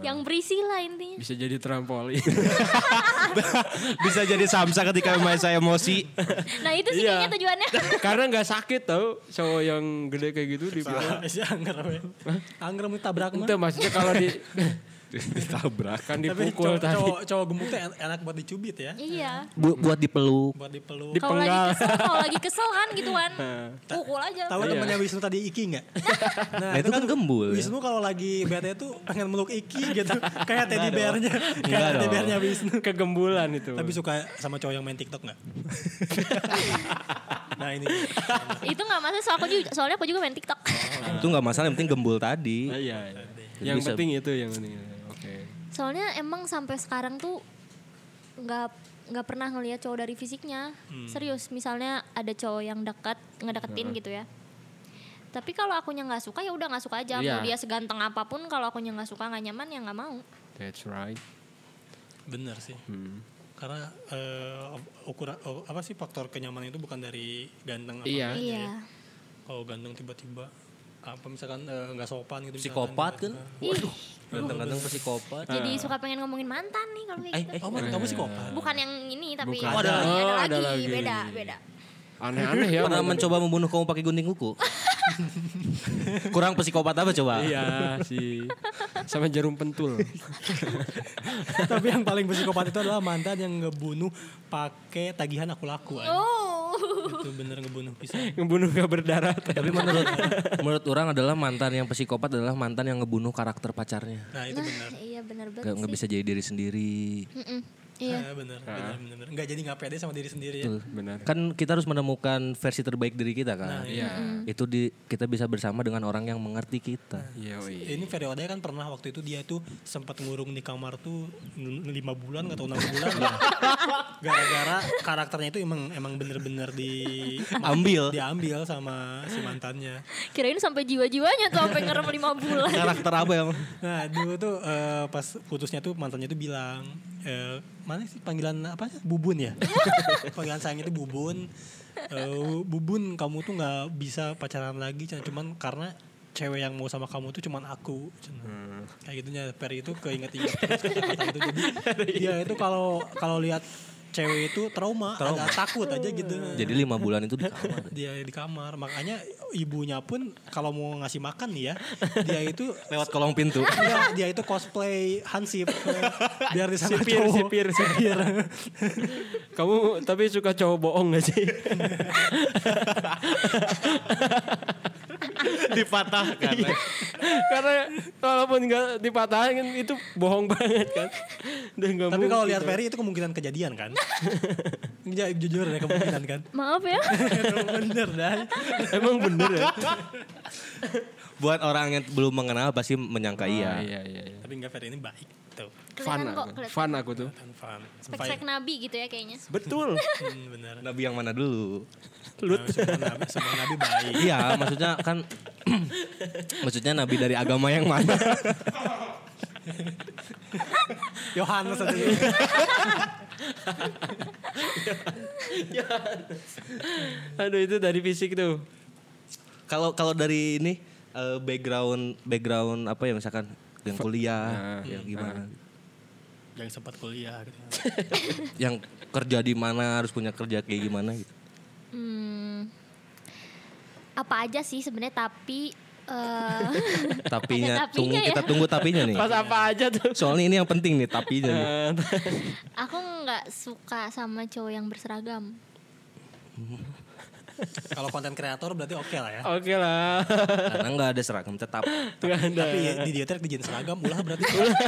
Yang berisi lah Ah. intinya. Bisa jadi trampolin. bisa jadi samsa ketika main saya emosi. Nah, itu sih Iya. kayaknya tujuannya. Karena nggak sakit tau cowok yang gede kayak gitu dibilang. Si angger. we. Angger mau tabrak mah. Itu maksudnya kalau di Ditabrak. kan Tapi dipukul cowok, tadi cowok, cowok gemuk tuh en- enak buat dicubit ya. iya. Bu- buat dipeluk. Buat dipeluk. Kalau lagi Dipenggal. kesel, kalau lagi kesel kan gitu kan. Pukul aja. Tahu temannya Wisnu tadi Iki nggak? Nah, itu kan gembul ya. Wisnu kalau lagi bete tuh pengen meluk Iki gitu. Kayak teddy bearnya. Kayak Enggak teddy dong. bearnya Wisnu. kegembulan itu. Tapi suka sama cowok yang main TikTok nggak? nah ini. Itu nggak masalah soal aku juga, soalnya aku juga main TikTok. Oh. Itu nggak masalah yang penting gembul tadi. Ah, iya, iya. Yang Bisa. penting itu yang penting. itu. Oke. Soalnya emang sampai sekarang tuh nggak nggak pernah ngelihat cowok dari fisiknya. Hmm. Serius, misalnya ada cowok yang dekat ngedeketin gitu ya. Tapi kalau akunya nggak suka ya udah nggak suka aja. Mau Iya. dia seganteng apapun kalau akunya nggak suka nggak nyaman ya nggak mau. That's right. Bener sih. Hmm. Karena eh, ukuran oh, apa sih faktor kenyamanan itu bukan dari ganteng apa Iya. enggaknya ya. Iya. Kalau ganteng tiba-tiba apa misalkan eh, nggak sopan gitu. misalkan. Psikopat kan? Ih, Kadang-kadang psikopat. jadi suka pengen ngomongin mantan nih kalau kayak Eh, gitu. eh, Oh, man, kamu psikopat. Bukan yang ini tapi Bukan. yang Oh, ada ini, lagi. ada Oh, ada lagi, lagi. beda, beda. Aneh-aneh ya. pernah ngomong. mencoba membunuh kamu pakai gunting kuku? Kurang psikopat apa coba? Iya sih. Sama jarum pentul. Tapi yang paling psikopat itu adalah mantan yang ngebunuh pakai tagihan aku laku. aja. Oh. itu bener ngebunuh pisang Ngebunuh gak berdarah. Tapi menurut menurut orang adalah mantan yang psikopat adalah mantan yang ngebunuh karakter pacarnya. nah itu bener iya benar Gak, banget nggak sih. bisa jadi diri sendiri. Mm-mm. Iya. Nah, bener, bener, bener, bener. Nggak jadi nggak pede sama diri sendiri ya. Iya, Benar. Nah, iya. Kan kita harus menemukan versi terbaik diri kita kan. Itu di kita bisa bersama dengan orang yang mengerti kita. Iya, iya. Ini periodenya kan pernah waktu itu dia tuh sempat ngurung di kamar tuh 5 bulan atau 6 bulan. lah. Gara-gara karakternya itu emang emang bener-bener di Ambil diambil sama si mantannya. Kirain sampai jiwa-jiwanya tuh sampai ngerem lima bulan. karakter apa yang Nah dulu tuh eh, pas putusnya tuh mantannya tuh bilang eh, mana sih panggilan apa sih? bubun ya panggilan sayang itu bubun Eh, bubun kamu tuh nggak bisa pacaran lagi Chan. cuman karena cewek yang mau sama kamu tuh cuman aku Chan. kayak gitunya Perry itu keinget-inget terus kata-kata itu jadi dia itu kalau kalau lihat cewek itu trauma, agak takut aja gitu Jadi lima bulan itu di kamar. dia di kamar makanya ibunya pun kalau mau ngasih makan nih ya dia itu Lewat kolong pintu. Iya, dia itu cosplay Hansip. Biar disangka Sipir, cowok. sipir, sipir. Kamu tapi suka cowok bohong gak sih? dipatahkan. Iya. Karena walaupun gak dipatahin kan, itu bohong banget kan. Udah nggak Tapi kalau mungkin. lihat Ferry itu kemungkinan kejadian kan? Iya, jujur ya kemungkinan kan? Maaf ya. Bener dah. Emang bener ya? Buat orang yang belum mengenal pasti menyangka iya. Iya, iya, iya. Tapi enggak Ferry ini baik. Tuh, Fun aku. Kelihatan kok. kelihatan. Fun aku tuh. kan fun. Spek-spek nabi gitu ya kayaknya. Betul. Hmm, bener. Nabi yang mana dulu? Lut. Semua nabi, semua nabi baik. Iya, maksudnya kan maksudnya nabi dari agama yang mana? Yohanes aja. Aduh itu dari fisik tuh. Kalau kalau dari ini eh, background background apa ya misalkan yang kuliah, yang gimana? Yang sempat kuliah. Gitu. Yang kerja di mana, harus punya kerja kayak gimana gitu. Hmm. Apa aja sih sebenarnya tapi eh, Tapinya, tapinya tunggu ya. kita tunggu tapinya nih. Pas apa aja tuh. Soalnya ini yang penting nih tapinya nih. aku nggak suka sama cowok yang berseragam. Kalau konten kreator berarti oke lah ya. Oke lah. Karena nggak ada seragam tetap. Nggak ada. Tapi ya, di diotrek di jenis seragam ulah berarti. Ulah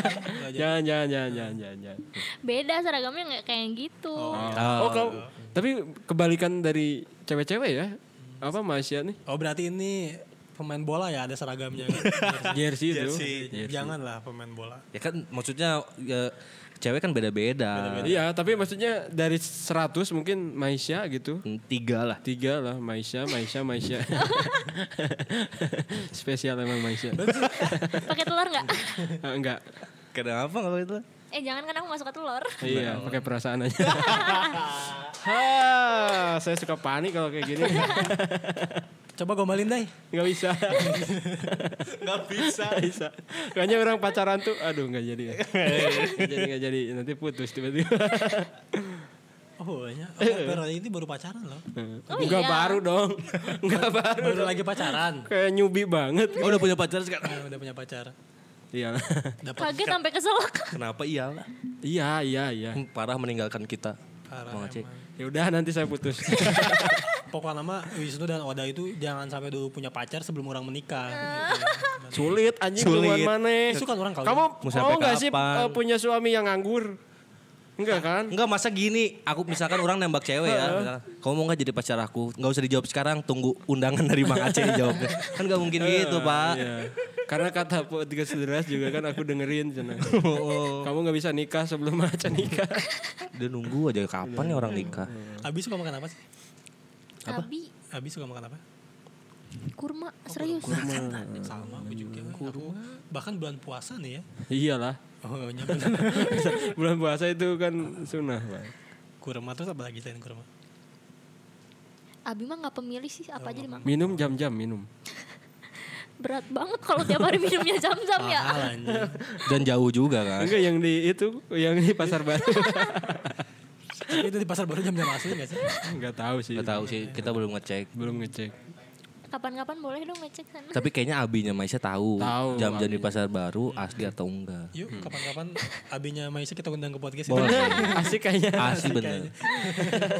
aja. Jangan, jangan, jangan, jangan, jangan. jangan. Beda seragamnya nggak kayak gitu. Oh, kamu, tapi kebalikan dari cewek-cewek ya. Apa Masya nih? Oh berarti ini pemain bola ya ada seragamnya. Jersey itu. Janganlah pemain bola. Ya kan maksudnya ya, cewek kan beda-beda. Iya, tapi maksudnya dari 100 mungkin Maisha gitu. Hmm, Tiga lah. Tiga lah, Maisha, Maisha, Maisha. Spesial emang Maisha. Pakai telur nggak? Ah, enggak. Kenapa kalau gitu? itu? eh jangan kan aku nggak suka telur. Iya, pakai perasaan aja. ha, saya suka panik kalau kayak gini. Coba gombalin deh. Enggak bisa. Gak bisa. Nggak bisa. Kayaknya orang pacaran tuh, aduh enggak jadi. Nggak jadi enggak jadi, nanti putus tiba-tiba. Oh banyak. Oh, Vero ini baru pacaran loh. Oh enggak iya. baru dong. Enggak baru. Baru lagi pacaran. Kayak nyubi banget. Oh udah punya pacar sekarang. Nah, udah punya pacar. Iya. Dapat Kaget sampai keselak. Kenapa iyalah? iya, iya, iya. Hmm, Parah meninggalkan kita. parah. Bang Aceh. Ya udah nanti saya putus. Pokoknya nama Wisnu dan Oda itu jangan sampai dulu punya pacar sebelum orang menikah. Gitu. Sulit anjing duluan Sulit. mana. ya? Itu kan orang kalau Kamu Mau mau sampai nggak sih kapan? eh, punya suami yang nganggur? Enggak kan? Enggak masa gini, aku misalkan orang nembak cewek ya, misalkan, kamu mau nggak jadi pacar aku? Nggak usah dijawab sekarang, tunggu undangan dari Mang Aceh jawabnya. Kan nggak mungkin gitu pak. Iya. Karena kata podcast sederas juga kan aku dengerin sana. Kamu nggak bisa nikah sebelum macan nikah. Udah nunggu aja kapan ya orang nikah. Abi suka makan apa sih? Tapi Abi suka makan apa? Oh, kurma serius. Sama aku juga. Aku bahkan bulan puasa nih ya. Iyalah. Oh, nyampe. Bulan puasa itu kan sunnah. Pak. kurma terus apa lagi selain kurma? Abi mah nggak pemilih sih apa aja dimakan. Minum jam-jam minum. Berat banget kalau tiap hari minumnya jam-jam ya. Mahal anjing. Dan jauh juga kan. Enggak yang di itu yang di pasar baru. Tapi itu di pasar baru jam-jam asli gak sih? Enggak tahu sih. Gak tahu sih, kita belum ngecek. Belum ngecek. Kapan-kapan boleh dong ngecek sana. Tapi kayaknya abinya Maisha tahu, Tahu, jam-jam di pasar baru asli atau enggak. Yuk kapan-kapan abinya Maisa kita undang ke podcast Boleh. itu. Asik kayaknya. Asli bener.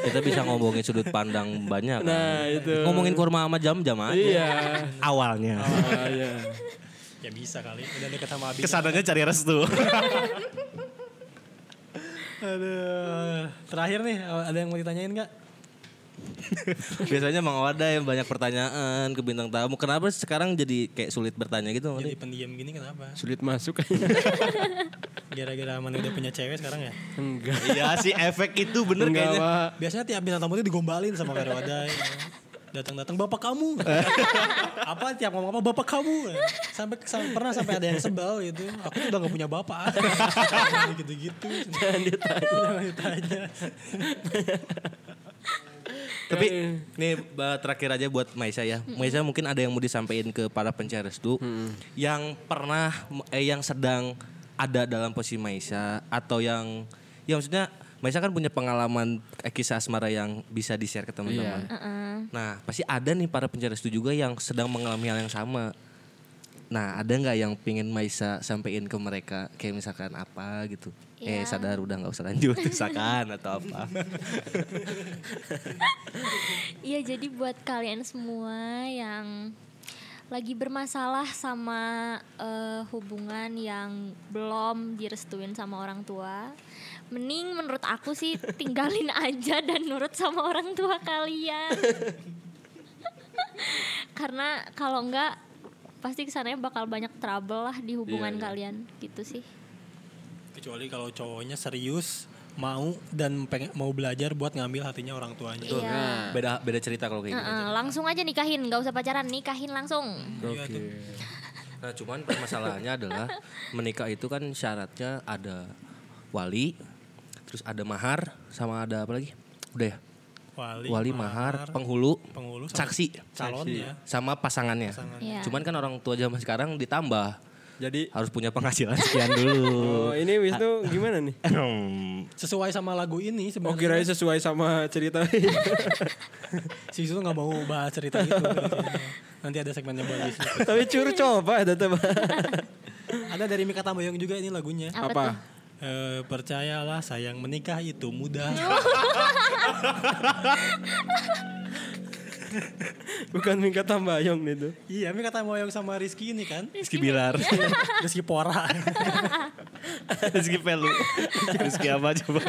Kita bisa ngomongin sudut pandang banyak. kan. Nah, itu. Ngomongin kurma sama jam-jam aja. Iya. Awalnya. Ah, iya. Ya bisa kali. Udah deket sama abi. Kesananya cari restu. Aduh. Terakhir nih ada yang mau ditanyain nggak? Biasanya Mang Wada yang banyak pertanyaan ke bintang tamu. Kenapa sekarang jadi kayak sulit bertanya gitu? Mang Wada? Jadi pendiam gini kenapa? Sulit masuk kayaknya. Gara-gara mana udah punya cewek sekarang ya? Enggak. Iya sih efek itu bener Enggak, kayaknya. Pak. Biasanya tiap bintang tamu itu digombalin sama Kak Wadai. Datang-datang bapak kamu. apa tiap ngomong apa bapak kamu. Sampai, sampai- pernah sampai ada yang sebel gitu. Aku tuh udah gak punya bapak. Gitu-gitu. Jangan ditanya. Tapi nih ba- terakhir aja buat Maisa ya. Maisa mungkin ada yang mau disampaikan ke para pencari restu yang pernah eh yang sedang ada dalam posisi Maisa atau yang ya maksudnya Maisa kan punya pengalaman eh, kisah asmara yang bisa di-share ke teman-teman. Nah, pasti ada nih para pencari restu juga yang sedang mengalami hal yang sama. Nah, ada nggak yang pingin Maisa sampein ke mereka kayak misalkan apa gitu? Eh Iya. sadar udah nggak usah lanjut misalkan atau apa? Iya jadi buat kalian semua yang lagi bermasalah sama eh, hubungan yang belum direstuin sama orang tua, mending menurut aku sih tinggalin aja dan nurut sama orang tua kalian. Karena kalau enggak pasti kesannya bakal banyak trouble lah di hubungan kalian gitu sih. Kecuali kalau cowoknya serius mau dan pengen mau belajar buat ngambil hatinya orang tuanya. Iya. Beda beda cerita kalau kayak gitu. Heeh, langsung aja nikahin, nggak usah pacaran, nikahin langsung. Iya tuh. Nah, cuman permasalahannya adalah menikah itu kan syaratnya ada wali, terus ada mahar, sama ada apa lagi? Udah ya? Wali, Wali, mahar, penghulu, penghulu, sama saksi, calonnya. sama pasangannya. Iya. Cuman kan orang tua zaman sekarang ditambah Jadi harus punya penghasilan sekian oh, dulu. ini Wisnu gimana nih? Sesuai sama lagu Oh ini sebenarnya. kirain sesuai sama cerita. Si Wisnu nggak mau bahas cerita itu. gitu. Nanti ada segmennya buat Wisnu. Tapi cur coba tetep. Ada dari Mika Tambayong juga ini lagunya. Apa, Apa? tuh? Eh, percayalah sayang menikah itu mudah. Bukan Mika Tambayong itu. iya, Mika Tambayong sama Rizky ini kan. Rizky Bilar. Rizky Pora. Rizky Pelu. Rizky apa coba?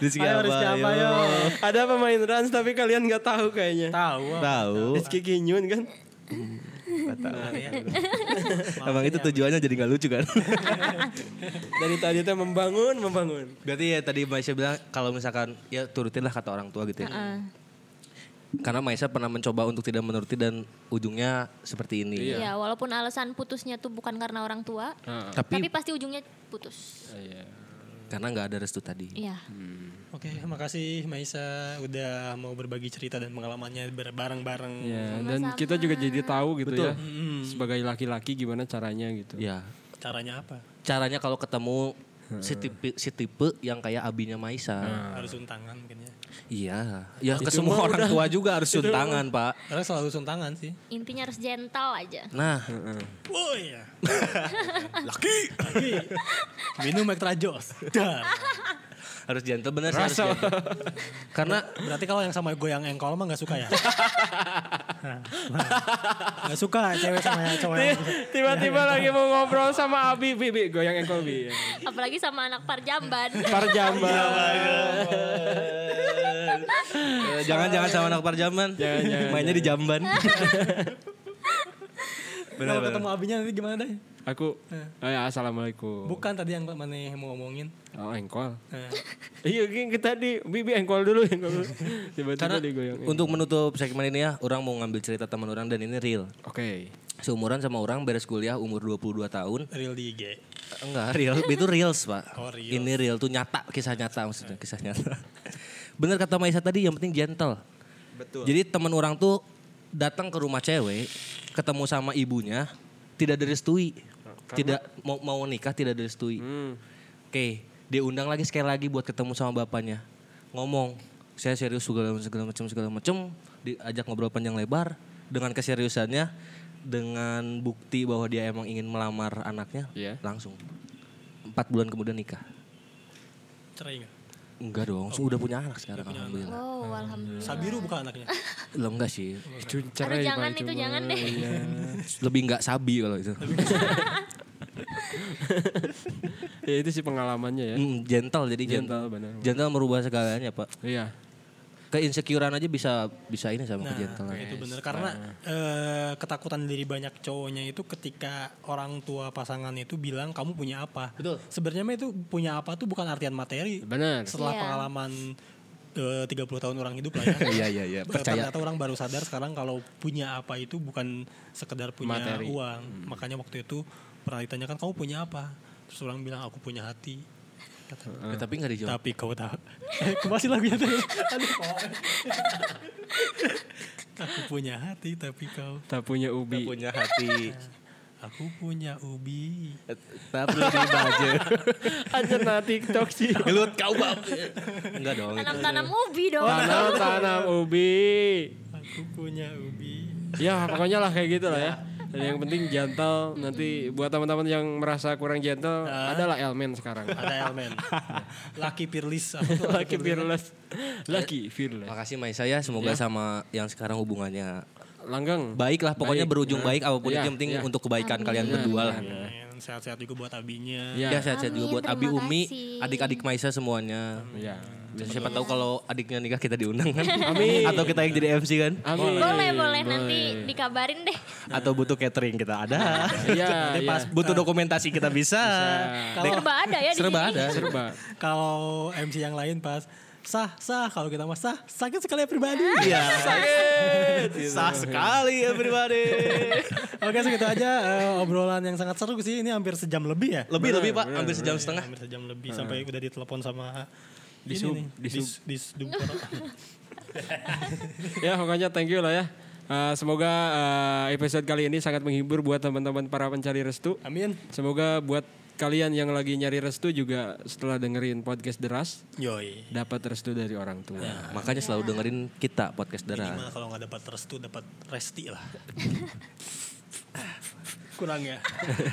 Rizky Ayo, apa? Rizky apa ayo? yo? Ada pemain Rans tapi kalian nggak Oh. tahu kayaknya. Tahu. Tahu. Rizky Kinyun kan? Emang itu tujuannya jadi nggak lucu kan? Dari tadi tuh membangun, membangun. Berarti ya tadi Maisha bilang kalau misalkan ya turutinlah kata orang tua gitu ya. Heeh. Karena Maisha pernah mencoba untuk tidak menuruti dan ujungnya seperti ini. Iya, walaupun alasan putusnya tuh bukan karena orang tua, tapi, Tapi pasti ujungnya putus. Iya. karena nggak ada restu tadi. Iya. Oke, makasih Maisa udah mau berbagi cerita dan pengalamannya ber- bareng-bareng. Ya, dan kita juga jadi tahu gitu ya. Sebagai laki-laki gimana caranya gitu. Ya, Caranya apa? caranya kalau ketemu si tipe, si tipe yang kayak abinya Maisa. Harus untangan mungkin ya. Iya. Ya ke semua orang tua juga harus suntangan, Pak. Karena selalu suntangan sih. Intinya harus gentle aja. Nah, Oh iya. Laki. Laki. Minum Extra Jos. Dar. harus gentle bener sih harus gentle. Karena Berarti kalau yang sama goyang engkol mah gak suka ya? Nah, nah. gak suka cewek sama yang cowok yang... Tiba-tiba lagi mau ngobrol sama Abi, Bi, Bi, goyang engkol Bi. Apalagi sama anak parjamban. Iya, Parjamba. eh, jangan-jangan sama anak parjaman. jangan, Mainnya di jamban. Kalau ketemu abinya nanti gimana deh? Aku, oh ya, assalamualaikum. Bukan tadi yang mana yang mau ngomongin. Oh engkol. Nah, Iya, kita di Bibi engkol dulu, engkol dulu. Tiba-tiba Karena digoyang. engkol. untuk menutup segmen ini ya, orang mau ngambil cerita teman orang dan ini real. Oke. Seumuran sama orang beres kuliah umur 22 tahun. Eh, real di IG. Enggak, real. Itu reals, Pak. Oh, reals. Ini real tuh nyata, kisah nyata maksudnya, kisah nyata. Bener kata Maisa tadi, yang penting gentle. Betul. Jadi teman orang tuh datang ke rumah cewek, ketemu sama ibunya, tidak direstui. Tidak mau mau nikah tidak direstui. Hmm. Oke, diundang lagi sekali lagi buat ketemu sama bapaknya. Ngomong, saya serius segala segala macam segala macam, diajak ngobrol panjang lebar. dengan keseriusannya dengan bukti bahwa dia emang ingin melamar anaknya Iya. langsung empat bulan kemudian nikah Cerai nggak? enggak dong langsung udah punya anak sekarang alhamdulillah Wow, Oh, alhamdulillah. Sabiru bukan anaknya. lo enggak sih Itu Aduh cerai, jangan Pak, itu mah. jangan deh. lebih enggak sabi kalau itu Ya itu sih pengalamannya ya. Mm, gentle jadi gentle Gentle benar. gentle merubah segalanya pak Iya. keinsecurean aja bisa bisa ini sama Nah, kejentelan itu bener karena eh, ketakutan dari banyak cowoknya itu ketika orang tua pasangan itu bilang kamu punya apa. Betul. Sebenarnya mah itu punya apa tuh bukan artian materi. Benar. Setelah Iya. pengalaman eh, 30 tahun orang hidup lah ya. iya iya iya percaya Ternyata orang baru sadar sekarang kalau punya apa itu bukan sekedar punya Materi. uang. Hmm. Makanya waktu itu pernah ditanyakan kamu punya apa? Terus orang bilang aku punya hati. Kata, Eh, tapi enggak dijawab Tapi kau tahu. Eh, aku masih lagunya tuh. Aduh, kok. Aku punya hati tapi kau. Tak punya ubi. punya hati Aku punya ubi. Eh, tak perlu dibaca Aja nah TikTok sih. gelut kau bab enggak dong itu. Tanam-tanam ubi dong. Tanam tanam ubi. Aku punya ubi. Ya pokoknya lah kayak gitu lah ya. Dan yang penting gentle. Nanti buat teman-teman yang merasa kurang gentle, adalah elemen sekarang. Ada elemen. Lucky Pirlis. Apa tuh Laki fearless. Laki fearless. makasih Maisa ya semoga sama yang sekarang hubungannya Langgang. baik lah pokoknya berujung baik apapun Iya, itu yang penting iya. untuk kebaikan kalian berdua lah Amin. Sehat-sehat juga buat abinya. Iya. ya sehat-sehat juga Amin, buat Abi terima Umi kasih. adik-adik Maisa semuanya Iya. siapa tahu kalau adiknya nikah kita diundang kan Amin. atau kita yang jadi MC kan Amin. Iya, Boleh, boleh nanti dikabarin deh. atau butuh catering kita ada Iya. Iya. butuh dokumentasi kita bisa, Serba ada ya di serba sini. ada Serba. Kalau MC yang lain pas sah sah kalau kita mah sah sakit sekali ya pribadi. Iya. Sakit. Sah sekali everybody. Oke segitu aja eh, obrolan yang sangat seru sih ini hampir sejam lebih ya. Lebih lebih Pak, hampir sejam setengah. Hampir sejam lebih sampai udah ditelepon sama Di ini sub- nih, di dis- disduktor. ya pokoknya thank you lah ya. Eh, semoga eh, episode kali ini sangat menghibur buat teman-teman para pencari restu. Amin. Semoga buat kalian yang lagi nyari restu juga setelah dengerin podcast Deras Yoi. dapat restu dari orang tua. Makanya selalu dengerin kita podcast Dara. Gimana kalau nggak dapat restu dapat resti lah. Kurang ya.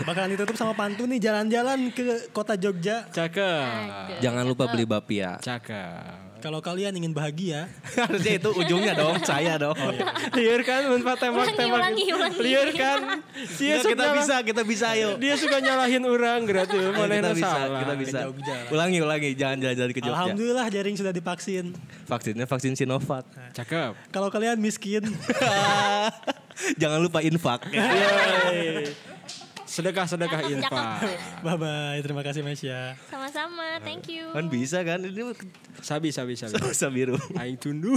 Bakalan ditutup sama pantun nih jalan-jalan ke kota Jogja. Cakep. Jangan lupa beli bapia. Cakep. Kalau kalian ingin bahagia, Harusnya itu ujungnya dong, saya dong. Liur kan manfaat tembak-tembak. Ulangi, ulangi, ulangi. Liur kan. Dia Nggak, suka kita bisa, kita bisa ayo. Dia suka nyalahin orang gratis. Ayo, Mana kita yang bisa, Iya. salah. kita bisa. Ke Jogja lah. Ulangi, ulangi, jangan jalan-jalan ke Jogja. alhamdulillah jaring sudah divaksin. Vaksinnya vaksin Sinovac. Cakep. Kalau kalian miskin, jangan lupa infak. Yeay. Sedekah-sedekah Cakep, infak. bye bye. Terima kasih Mesya. Sama-sama, thank you. Kan bisa kan? Ini Sabi, sabi, sabi. bisa biru. Aing tundu.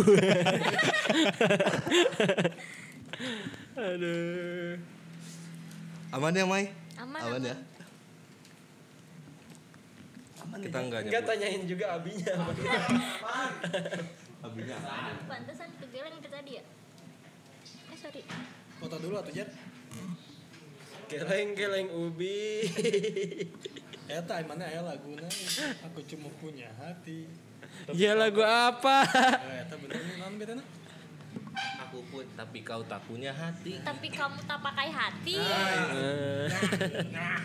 Aduh. Aman ya, Mai? Aman, Aman ya. Kita enggak nyebut. tanyain juga abinya. Pantesan kegeleng itu tadi ya. Eh sorry. Foto dulu atau Jet? Geleng-geleng ubi. Eta imannya aya laguna aku cuma punya hati. Eh, ya lagu apa? Eta bener non betana. Aku pun, tapi kau tak punya hati. Ah, iya. Tapi kamu tak pakai hati. Eh.